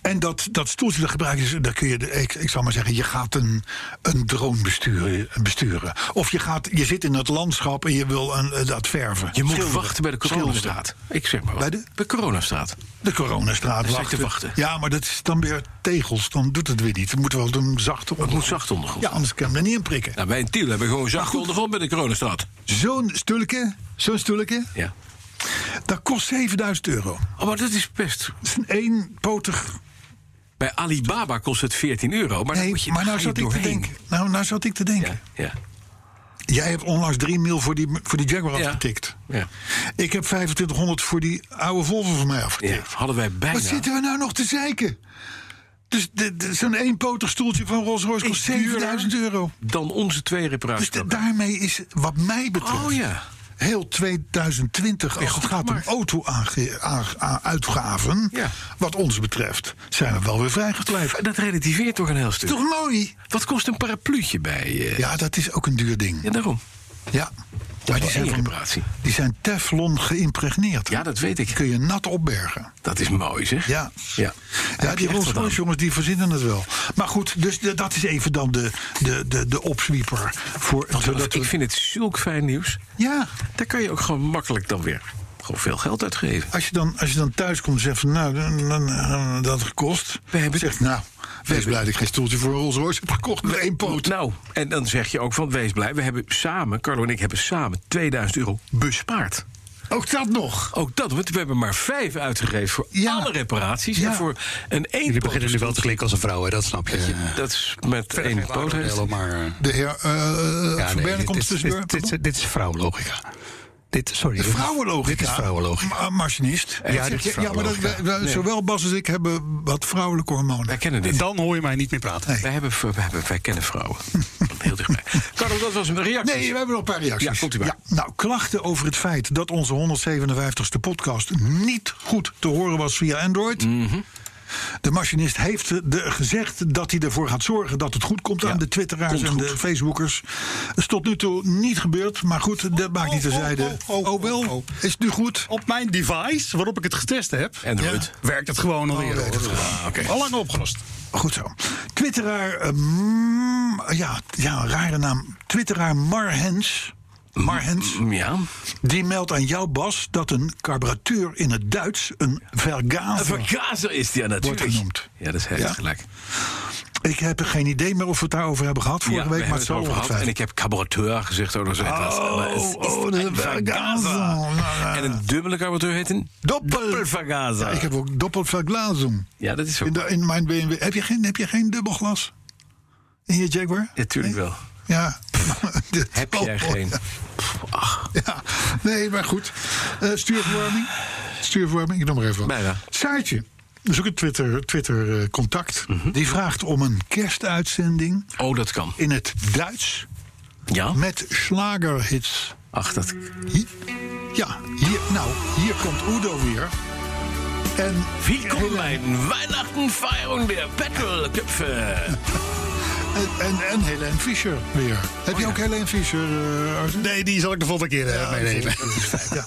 S4: En dat, dat stoeltje dat gebruiken ze, daar kun je, de- ik, ik zal maar zeggen, je gaat een, een drone besturen, besturen. Of je, gaat, je zit in het landschap en je wil een, eh, dat verven.
S2: Je moet
S4: Schilderen.
S2: wachten bij de
S4: Schilderen.
S2: coronastraat. Ik zeg maar wat.
S4: Bij de?
S2: coronastraat.
S4: De coronastraat
S2: Daar sta ik te wachten.
S4: Ja, maar dat is dan weer tegels, dan doet het weer niet. Het moet wel een zachte
S2: Het moet
S4: ondergrond.
S2: zacht ondergrond.
S4: Ja, anders kan je hem er niet in prikken.
S2: Nou, bij een tiel hebben we gewoon zacht ondergrond bij de coronastraat.
S4: Zo'n stoelke, zo'n stoelke,
S2: Ja.
S4: dat kost 7000 euro.
S2: Oh, maar dat is best.
S4: Dat is een eenpotig...
S2: Bij Alibaba kost het 14 euro. Maar dan
S4: Nee,
S2: moet je
S4: maar
S2: daar
S4: nou
S2: ga je
S4: zat ik te
S2: doorheen.
S4: denken. Nou, nou zat ik te denken.
S2: Ja, ja.
S4: Jij hebt onlangs 3 mil voor die, voor die Jaguar
S2: Ja.
S4: afgetikt.
S2: Ja.
S4: Ik heb 2500 voor die oude Volvo van mij afgetikt.
S2: ja. Hadden wij bijna.
S4: Wat zitten we nou nog te zeiken? Dus de- de- zo'n eenpotig stoeltje van Rolls-Royce
S2: Is
S4: kost 7000
S2: duurder
S4: euro.
S2: Dan onze twee reparaties.
S4: Dus da- daarmee is, wat mij betreft,
S2: Oh ja.
S4: heel 2020, als
S2: goed
S4: het gaat om
S2: gemaakt.
S4: auto-uitgaven,
S2: Ja.
S4: wat ons betreft, zijn we wel weer vrijgepleit.
S2: Dat relativeert toch een heel stuk.
S4: Toch mooi?
S2: Wat kost een parapluutje bij... eh,
S4: Ja, dat is ook een duur ding.
S2: Ja, daarom.
S4: Ja.
S2: Maar
S4: die
S2: die
S4: zijn, van,
S2: reparatie.
S4: die zijn Teflon geïmpregneerd.
S2: Ja, dat weet ik.
S4: Kun je nat opbergen.
S2: Dat is mooi, zeg.
S4: Ja.
S2: Ja.
S4: Ja,
S2: Heb
S4: die
S2: je echt
S4: Rolls
S2: wat aan.
S4: Royce jongens, die verzinnen het wel. Maar goed, dus de- dat is even dan de, de, de, de opswieper. Voor, zodat
S2: Ik
S4: we-
S2: vind het zulk fijn nieuws.
S4: ja,
S2: Daar kan je ook gewoon makkelijk dan weer gewoon veel geld uitgeven.
S4: als je, dan, als je dan thuis komt en zegt van, nou, dan, dan- dan- dat gekost.
S2: We hebben-
S4: zegt, nou, wees blij dat ik geen stoeltje voor een Rolls Royce heb gekocht met één poot.
S2: Nou, en dan zeg je ook van wees blij. We hebben samen, Carlo en ik hebben samen 2000 euro bespaard.
S4: Ook dat nog.
S2: Ook dat, want we hebben maar vijf uitgegeven voor
S4: Ja.
S2: alle reparaties.
S4: Ja.
S2: En voor een één
S3: Jullie beginnen nu wel te klinken als een vrouw, hè? dat snap je. Eh, Ja.
S2: Dat is met één poot. heeft.
S3: maar... eh,
S4: De heer eh
S3: ja,
S4: Van
S3: nee,
S4: Berne
S3: dit,
S4: komt
S3: is-
S4: er tussendoor.
S3: dit, dit, dit is vrouwenlogica. Dit, sorry. dit-
S4: Vrouwenlogica.
S3: Dit is vrouwenlogica.
S4: Ma- machinist.
S3: Ja, dit is
S4: ja, maar dat,
S3: vrouwenlogica.
S4: wij- wij- zowel Bas als ik hebben wat vrouwelijke hormonen.
S2: Wij kennen dit.
S3: Dan hoor je mij niet meer praten.
S2: Wij, hebben, wij, hebben, wij kennen vrouwen. Heel dichtbij. Carlo, dat was een reactie.
S4: Nee, we hebben nog een paar reacties.
S2: Ja, komt u maar.
S4: nou, klachten over het feit dat onze 157ste podcast niet goed te horen was via Android.
S3: Mhm.
S4: De machinist heeft de- de, gezegd dat hij ervoor gaat zorgen dat het goed komt aan de Twitteraars en de Facebookers. Dat is tot nu toe niet gebeurd, maar goed, dat maakt niet
S3: oh,
S4: terzijde.
S3: oh, oh, oh,
S4: wel,
S3: oh.
S4: is het nu goed?
S3: Op mijn device, waarop ik het getest heb,
S2: Android.
S3: ja, werkt het gewoon alweer.
S4: werkt het
S3: hoor. Al lang opgelost.
S4: Goed zo. Twitteraar, eh, mm, ja, ja, rare naam. Twitteraar Marhens. Marhens.
S3: Mm,
S2: Ja,
S4: Die meldt aan jou, Bas, dat een carburateur in het Duits een
S2: een
S4: vergaser...
S2: vergazer is die ja, natuurlijk.
S4: Wordt genoemd.
S2: Ja, dat is heel
S4: Ja.
S2: gelijk.
S4: Ik heb geen idee meer of we het daarover hebben gehad vorige
S2: Ja, we
S4: week,
S2: hebben
S4: maar het zal
S2: over gehad.
S4: ongetwijfeld.
S2: En ik heb carburateur gezegd. Oh, dat is
S4: Oh, oh, dat is een vergazer.
S2: En een dubbele carburateur heet een
S4: nou, Doppel-
S2: doppelvergazer.
S4: Ja, ik heb ook doppelverglazing.
S2: Ja, dat is ook.
S4: In, de- in mijn BMW. Heb je, geen, heb je geen dubbelglas? In je Jaguar?
S2: Ja, tuurlijk wel.
S4: Ja. Dit-
S2: Heb jij
S4: oh,
S2: geen?
S4: Ja, nee, maar goed. Eh stuurverwarming. Stuurverwarming, ik noem maar even wat.
S2: Bijna.
S4: Saartje, dat is ook een Twitter-contact. Twitter, eh, contact.
S2: Mhm.
S4: Die vraagt om een kerstuitzending
S2: Oh, dat kan.
S4: in het Duits
S2: Ja?
S4: met slagerhits.
S2: Ach, dat...
S4: Hi- Ja, hier, nou, hier komt Udo weer. En
S2: Welkom bij Weihnachten feiern der Petrolköpfe.
S4: En, en, en Helene Fischer weer. Heb
S2: Oh
S4: je ook Helene Fischer, eh, Arthur?
S3: Nee, die zal ik de volgende keer eh, meenemen.
S4: Ja.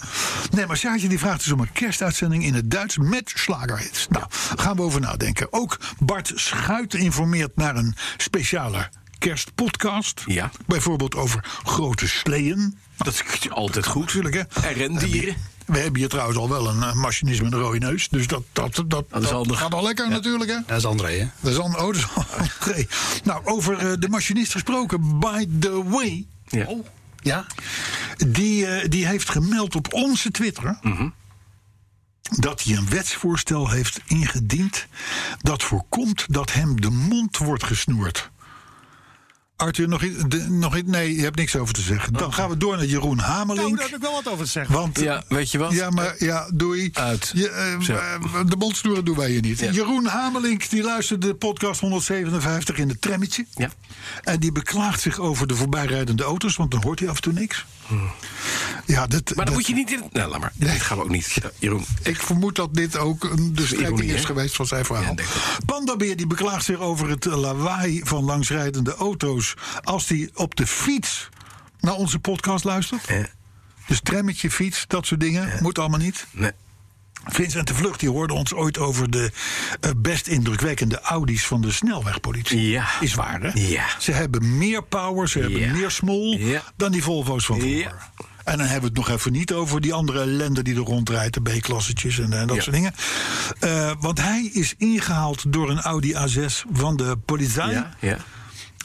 S4: Nee, maar Saartje die vraagt dus om een kerstuitzending in het Duits met slagerhits. Nou, gaan we over nadenken. Ook Bart Schuit informeert naar een speciale kerstpodcast.
S2: Ja.
S4: Bijvoorbeeld over grote sleeën.
S2: Dat is altijd goed.
S4: Natuurlijk, hè.
S2: En rendieren.
S4: We hebben hier trouwens al wel een eh, machinist met een rode neus. Dus dat, dat, dat, dat,
S2: handig.
S4: gaat al lekker natuurlijk, hè.
S3: Dat is André, hè?
S4: Dat is al oh, dat is al- oké. Nou, over eh, de machinist gesproken. By the way, Oh,
S2: Ja.
S3: Ja?
S4: Die, eh, die heeft gemeld op onze Twitter.
S2: Mhm.
S4: Dat hij een wetsvoorstel heeft ingediend. dat voorkomt dat hem de mond wordt gesnoerd. Arthur, nog, i- de, nog i- Nee, je hebt niks over te zeggen. Dan gaan we door naar Jeroen
S3: Nou, daar
S4: Hamelink.
S3: heb ik wel wat over te zeggen.
S4: Want.
S2: Oh. ja, weet je wat?
S4: Ja, maar ja, doei.
S2: Uit.
S4: Je, eh,
S2: Zo.
S4: eh, de mondsnoeren doen wij hier niet.
S2: Ja.
S4: Jeroen Hamelink die luisterde de podcast 157 in het trammetje.
S2: Ja.
S4: En die beklaagt zich over de voorbijrijdende auto's, want dan hoort hij af en toe niks. Ja, dat,
S2: Hmm. Maar
S4: dat-
S2: dan moet je niet in... Nou, laat maar.
S4: Nee.
S2: Dit gaan we ook niet. Ja, Jeroen,
S4: Ik vermoed dat dit ook een de strekking
S2: ironie,
S4: is
S2: hè?
S4: geweest van zijn
S2: Ja,
S4: verhaal.
S2: ik denk
S4: Pandabeer die beklaagt zich over het eh, lawaai van langsrijdende auto's... als die op de fiets naar onze podcast luistert.
S2: Ja.
S4: Dus trammetje, fiets, dat soort dingen, moet allemaal niet.
S2: nee.
S4: Vincent de Vlucht die hoorde ons ooit over de eh, best indrukwekkende Audi's van de snelwegpolitie.
S2: Ja.
S4: Is waar, hè?
S2: Ja.
S4: Ze hebben meer power, ze hebben
S2: Ja.
S4: meer smol
S2: Ja.
S4: dan die Volvo's van vroeger.
S2: Ja.
S4: En dan hebben we het nog even niet over die andere ellende die er rondrijdt, de B-klassetjes en, eh, dat
S2: Ja.
S4: soort dingen. Eh, want hij is ingehaald door een Audi A6 van de politie.
S2: Ja, ja.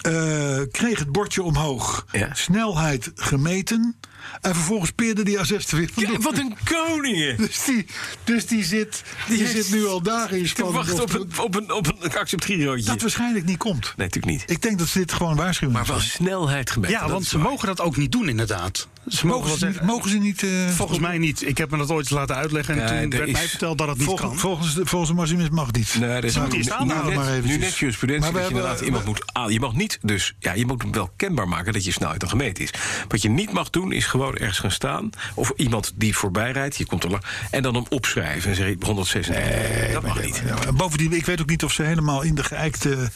S4: Eh, kreeg het bordje omhoog,
S2: Ja.
S4: snelheid gemeten. En vervolgens peerde die A6 er weer vandoor.
S2: Ja, Wat een koningen!
S4: Dus die, dus die, zit, die
S2: Die
S4: zit
S2: heeft
S4: nu al dagen in
S2: Te
S4: spanning.
S2: wachten
S4: of
S2: op een, op een, op een acceptieroodje.
S4: Dat waarschijnlijk niet komt.
S2: Nee, natuurlijk niet.
S4: Ik denk dat ze dit gewoon waarschuwen.
S2: Maar wel snelheid gemeten.
S3: Ja,
S2: dat
S3: want
S2: is
S3: ze
S2: waar.
S3: mogen dat ook niet doen, inderdaad. Ze mogen,
S4: mogen,
S3: wel
S4: ze, niet-
S3: zeggen...
S4: mogen ze niet... eh,
S3: Volgens mij niet. Ik heb me dat ooit laten uitleggen. En
S2: Nee,
S3: toen
S2: er
S3: werd
S2: is-
S3: mij verteld dat het niet
S4: volgens,
S3: kan.
S4: volgens, de, volgens de machinist mag het niet.
S2: Nee, er is
S3: Zou die staan
S2: nu,
S3: houden
S2: net,
S4: maar
S2: nu
S4: eventjes?
S2: net jurisprudentie
S4: Maar we
S2: dat je
S4: hebben-
S2: inderdaad iemand
S4: we-
S2: moet aan. Je mag niet, dus ja, je moet wel kenbaar maken dat je snelheid dan gemeten is. Wat je niet mag doen, is gewoon ergens gaan staan. Of iemand die voorbij rijdt, je komt er lang. En dan hem opschrijven en zeggen 136. dat mag niet.
S4: Ja, en bovendien, ik weet ook niet of ze helemaal in de geëikte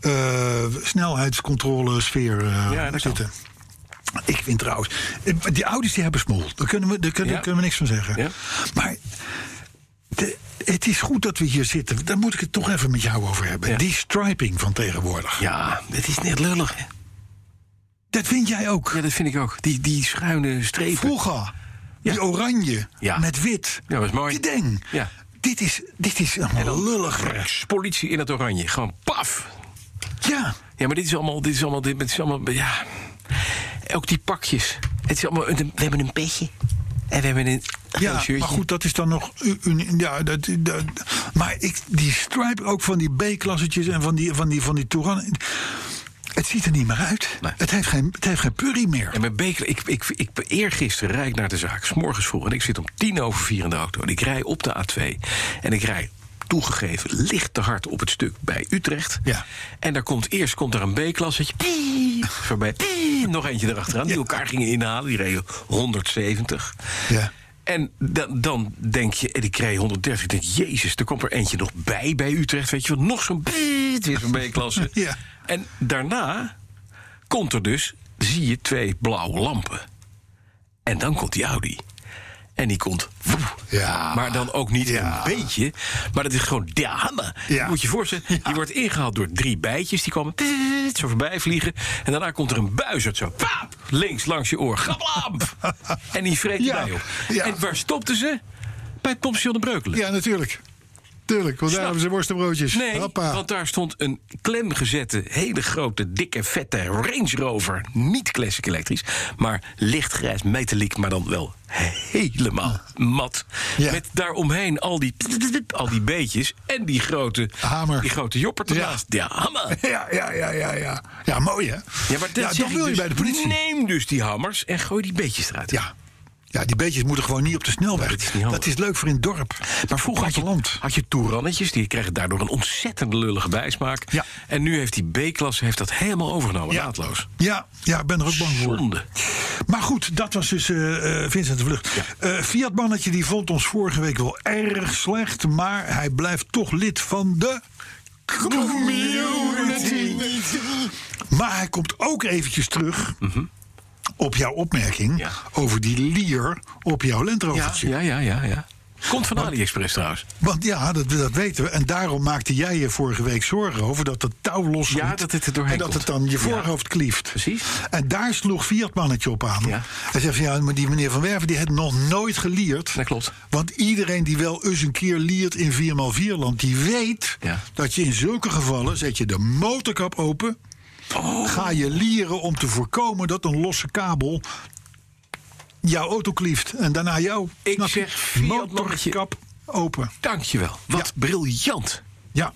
S4: eh, snelheidscontrole sfeer eh,
S2: Ja, dat kan.
S4: zitten. Ik vind trouwens, eh, die Audi's die hebben smoel. Daar kunnen we, daar kunnen,
S2: Ja.
S4: kunnen we niks van zeggen.
S2: Ja.
S4: Maar de- het is goed dat we hier zitten. Daar moet ik het toch even met jou over hebben.
S2: Ja.
S4: Die striping van tegenwoordig.
S2: Ja, dat is net lullig. hè?
S4: Dat vind jij ook.
S2: Ja, dat vind ik ook. Die, die schuine strepen.
S4: Vroeger, die oranje
S2: Ja.
S4: met wit.
S2: Ja, dat is mooi.
S4: Die ding.
S2: Ja.
S4: Dit is, dit is allemaal lullig. werk.
S2: Politie in het oranje. Gewoon paf.
S4: Ja.
S2: Ja, maar dit is allemaal, dit is allemaal, dit is allemaal, ja. Ook die pakjes. Het is allemaal, we hebben een petje. En we hebben een
S4: Ja,
S2: geel shirtje.
S4: maar goed, dat is dan nog. u- uni- ja, dat, dat- maar ik, die stripe ook van die B-klassetjes en van die, van die, van die Touran. Het ziet er niet meer uit.
S2: Nee.
S4: Het, heeft geen, het heeft geen purrie meer.
S2: Ja, mijn beker, ik, ik, ik, eergisteren rijd ik naar de zaak, s'morgens vroeg. En ik zit om tien over vier in de auto. En ik rij op de A2. En ik rij toegegeven licht te hard op het stuk bij Utrecht.
S4: Ja.
S2: En daar komt eerst komt er een B-klassetje. piep, Voorbij. piep, Nog eentje erachteraan. Die elkaar gingen inhalen. Die reden 170.
S4: Ja.
S2: En dan, dan denk je, en ik kreeg 130. Ik denk, jezus, er komt er eentje nog bij bij Utrecht. Weet je wel, nog zo'n biet, weer zo'n B-klasse.
S4: Ja.
S2: En daarna komt er dus, zie je, twee blauwe lampen. En dan komt die Audi. En die komt... woef.
S4: Ja.
S2: Maar dan ook niet
S4: Ja.
S2: een beetje. Maar dat is gewoon dame.
S4: Ja.
S2: Moet je je voorstellen, die wordt ingehaald door drie bijtjes. Die komen tssst, zo voorbij vliegen. En daarna komt er een buizerd zo. Paap, links langs je oor. Gablam! en die vreet
S4: Ja,
S2: erbij op.
S4: ja.
S2: En waar stopten ze? Bij het pompstation in Breukelen.
S4: Ja, natuurlijk. Tuurlijk, want daar hebben ze worstenbroodjes.
S2: Nee, want daar stond een klemgezette, hele grote, dikke, vette Range Rover. Niet classic elektrisch, maar lichtgrijs, metaliek, maar dan wel helemaal mat.
S4: Ja.
S2: Met daaromheen al die, al die beetjes en die grote,
S4: Hamer.
S2: Die grote jopper ernaast. Ja, hammer.
S4: Ja, ja, ja, ja, ja. Ja, mooi hè?
S2: Ja, maar dat
S4: ja,
S2: zeg
S4: dan
S2: ik
S4: wil je
S2: dus,
S4: bij de politie.
S2: Neem dus die hammers en gooi die beetjes eruit.
S4: Ja. ja, die beetjes moeten gewoon niet op de snelweg.
S2: dat is niet handig.
S4: dat is leuk voor in het dorp.
S2: Maar vroeger had je,
S4: Platteland.
S2: had je toerannetjes, die kregen daardoor een ontzettend lullige bijsmaak.
S4: Ja.
S2: En nu heeft die B-klasse heeft dat helemaal overgenomen,
S4: Ja.
S2: naadloos.
S4: Ja, ja, ik ben er ook bang voor.
S2: Zonde.
S4: Maar goed, dat was dus eh, eh, Vincent de Vlucht. Eh, Fiat-mannetje die vond ons vorige week wel erg slecht. Maar hij blijft toch lid van de. Community. Maar hij komt ook eventjes terug. Op jouw opmerking
S2: Mhm. Ja.
S4: over die lier op jouw lentrovertje.
S2: Ja, ja, ja, ja. Komt van AliExpress trouwens.
S4: Want ja, dat, dat weten we. En daarom maakte jij je vorige week zorgen over dat het touw los
S2: Ja, dat het er doorheen
S4: En dat het
S2: komt.
S4: dan je
S2: Ja.
S4: voorhoofd klieft.
S2: Precies.
S4: En daar sloeg Fiat mannetje op aan.
S2: Ja.
S4: Hij zegt van ja, maar die meneer Van Werven die heeft nog nooit gelierd.
S2: Dat klopt.
S4: Want iedereen die wel eens een keer liert in 4x4 land, die weet
S2: Ja.
S4: dat je in zulke gevallen zet je de motorkap open.
S2: Oh.
S4: Ga je lieren om te voorkomen dat een losse kabel jouw auto klieft en daarna jou.
S2: Ik
S4: Snap je?
S2: zeg, Fiat mannetje.
S4: motorkap open.
S2: Dankjewel. Wat
S4: Ja.
S2: briljant.
S4: Ja,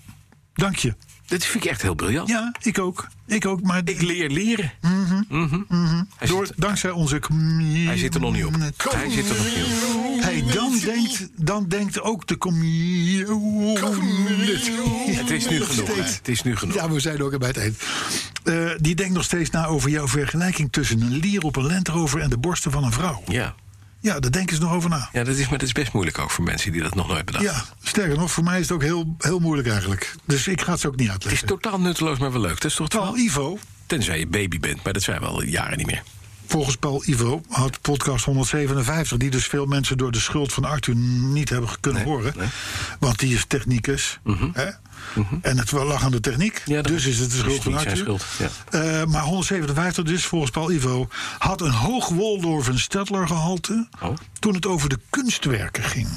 S4: dank je.
S2: Dat vind ik echt heel briljant.
S4: Ja, ik ook. Ik ook, maar
S2: Ik leer leren. Mhm. Hij,
S4: door,
S2: zit,
S4: dankzij onze...
S2: hij zit er nog niet op. Hij zit er nog niet op.
S4: Hey, dan, denkt, dan denkt ook de community...
S2: Het is nu
S4: Nog
S2: genoeg. hè.
S4: steeds.
S2: Het is nu genoeg.
S4: Ja, we zijn ook bij het eind. Eh, die denkt nog steeds na over jouw vergelijking tussen een lier op een Land Rover en de borsten van een vrouw.
S2: Ja.
S4: Ja, daar denken ze nog over na.
S2: Ja, dat is, maar dat is best moeilijk ook voor mensen die dat nog nooit bedacht
S4: Ja, sterker nog, voor mij is het ook heel, heel moeilijk eigenlijk. Dus ik ga het ze ook niet
S2: Het is
S4: uitleggen.
S2: totaal nutteloos, maar wel leuk. Dat is toch
S4: Terwijl Ivo,
S2: Tenzij je baby bent, maar dat zijn we al jaren niet meer.
S4: volgens Paul Ivo, had podcast 157... die dus veel mensen door de schuld van Arthur niet hebben kunnen horen. Want die is technicus. Hè? En het lag aan de techniek.
S2: Mhm. Ja, dat-
S4: dus is het de schuld
S2: is
S4: van
S2: niet
S4: Arthur.
S2: zijn schuld,
S4: Eh, maar 157 dus, volgens Paul Ivo... had een hoog Waldorf Stedtler gehalte...
S2: Oh.
S4: toen het over de kunstwerken ging.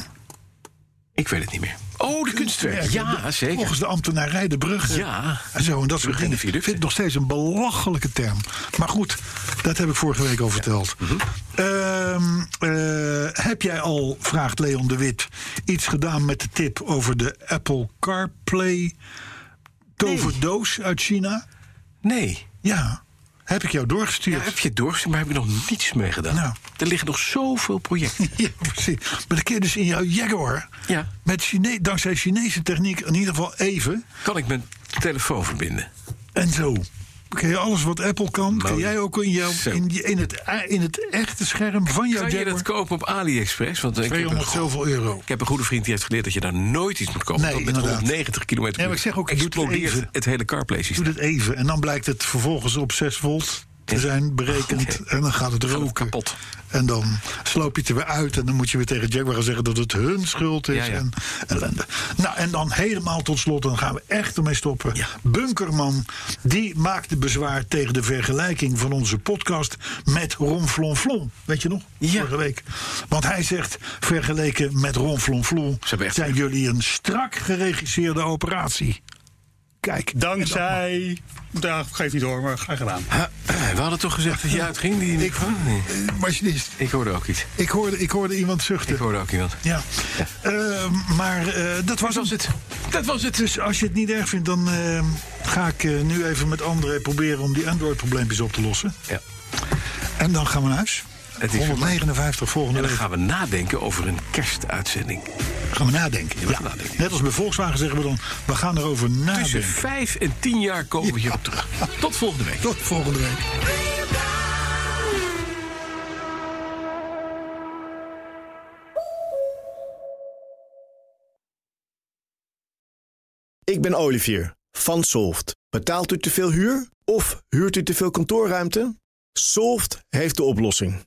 S2: Ik weet het niet meer. Oh, de kunstwerk. Ja, zeker.
S4: Volgens de ambtenarij de bruggen.
S2: Ja.
S4: En zo, en dat soort
S2: Bruggen
S4: dingen.
S2: en viaducten.
S4: Ik vind het nog steeds een belachelijke term. Maar goed, dat heb ik vorige week al verteld. Ehm, eh, heb jij al, vraagt Leon de Wit, iets gedaan met de tip over de Apple CarPlay toverdoos uit China?
S2: Nee.
S4: Ja, heb ik jou
S2: Ja,
S4: doorgestuurd.
S2: heb je het doorgestuurd, maar heb je nog niets mee gedaan.
S4: Nou.
S2: Er liggen nog zoveel projecten.
S4: Ja, precies. Maar dan kun je dus in jouw Jaguar,
S2: Ja.
S4: met Chine dankzij Chinese techniek, in ieder geval even,
S2: Kan ik mijn telefoon verbinden?
S4: En zo. Kun je alles wat Apple kan, kun
S2: Mooi.
S4: jij ook in, jouw,
S2: Nou, Zo.
S4: in, je- in, het, e- in het echte scherm van jouw
S2: Kan je dat
S4: Jaguar.
S2: kopen op AliExpress? Want eh, ik heb, een,
S4: 200 zoveel euro.
S2: ik heb een goede vriend die heeft geleerd dat je daar nooit iets moet kopen.
S4: Nee,
S2: want met
S4: inderdaad.
S2: 190 km
S4: Ja, maar ik zeg ook, ik doe het
S2: explodeert
S4: even.
S2: het, hele CarPlay
S4: Doe
S2: systeem.
S4: dat even en dan blijkt het vervolgens op 6 volt te zijn berekend. En dan gaat het roken.
S2: kapot.
S4: En dan sloop je het er weer uit. En dan moet je weer tegen Jaguar gaan zeggen dat het hun schuld is.
S2: Ja, ja.
S4: En ellende. Nou, en dan helemaal tot slot. Dan gaan we echt ermee stoppen. Bunkerman, die maakte bezwaar tegen de vergelijking van onze podcast met Ronflonflon. Weet je nog?
S2: Ja.
S4: Vorige week. Want hij zegt, vergeleken met Ronflonflon...
S2: hebben echt
S4: zijn jullie een strak geregisseerde operatie. Kijk.
S3: Dankzij. Ja, geef niet door, maar graag gedaan.
S2: eh, We hadden toch gezegd dat je uitging? Die... Oh,
S4: Ik, eh, machinist,
S2: ik hoorde ook iets.
S4: ik hoorde, ik hoorde iemand zuchten.
S2: Ik hoorde ook iemand.
S4: Ja, Eh, maar eh, dat was
S2: was
S4: het.
S2: het. Dat was het.
S4: Dus als je het niet erg vindt, dan eh, ga ik eh, nu even met André proberen om die Android-probleempjes op te lossen.
S2: Ja.
S4: En dan gaan we naar huis.
S2: Het is
S4: 159 volgende
S2: En dan
S4: week.
S2: gaan we nadenken over een kerstuitzending.
S4: Gaan we nadenken.
S2: we gaan nadenken.
S4: Net als bij Volkswagen zeggen we dan, we gaan erover
S2: Tussen
S4: nadenken.
S2: vijf en tien jaar komen we hierop terug. Tot volgende week.
S4: Tot volgende week.
S6: Ik ben Olivier van Solft. Betaalt u te veel huur of huurt u te veel kantoorruimte? Solft heeft de oplossing.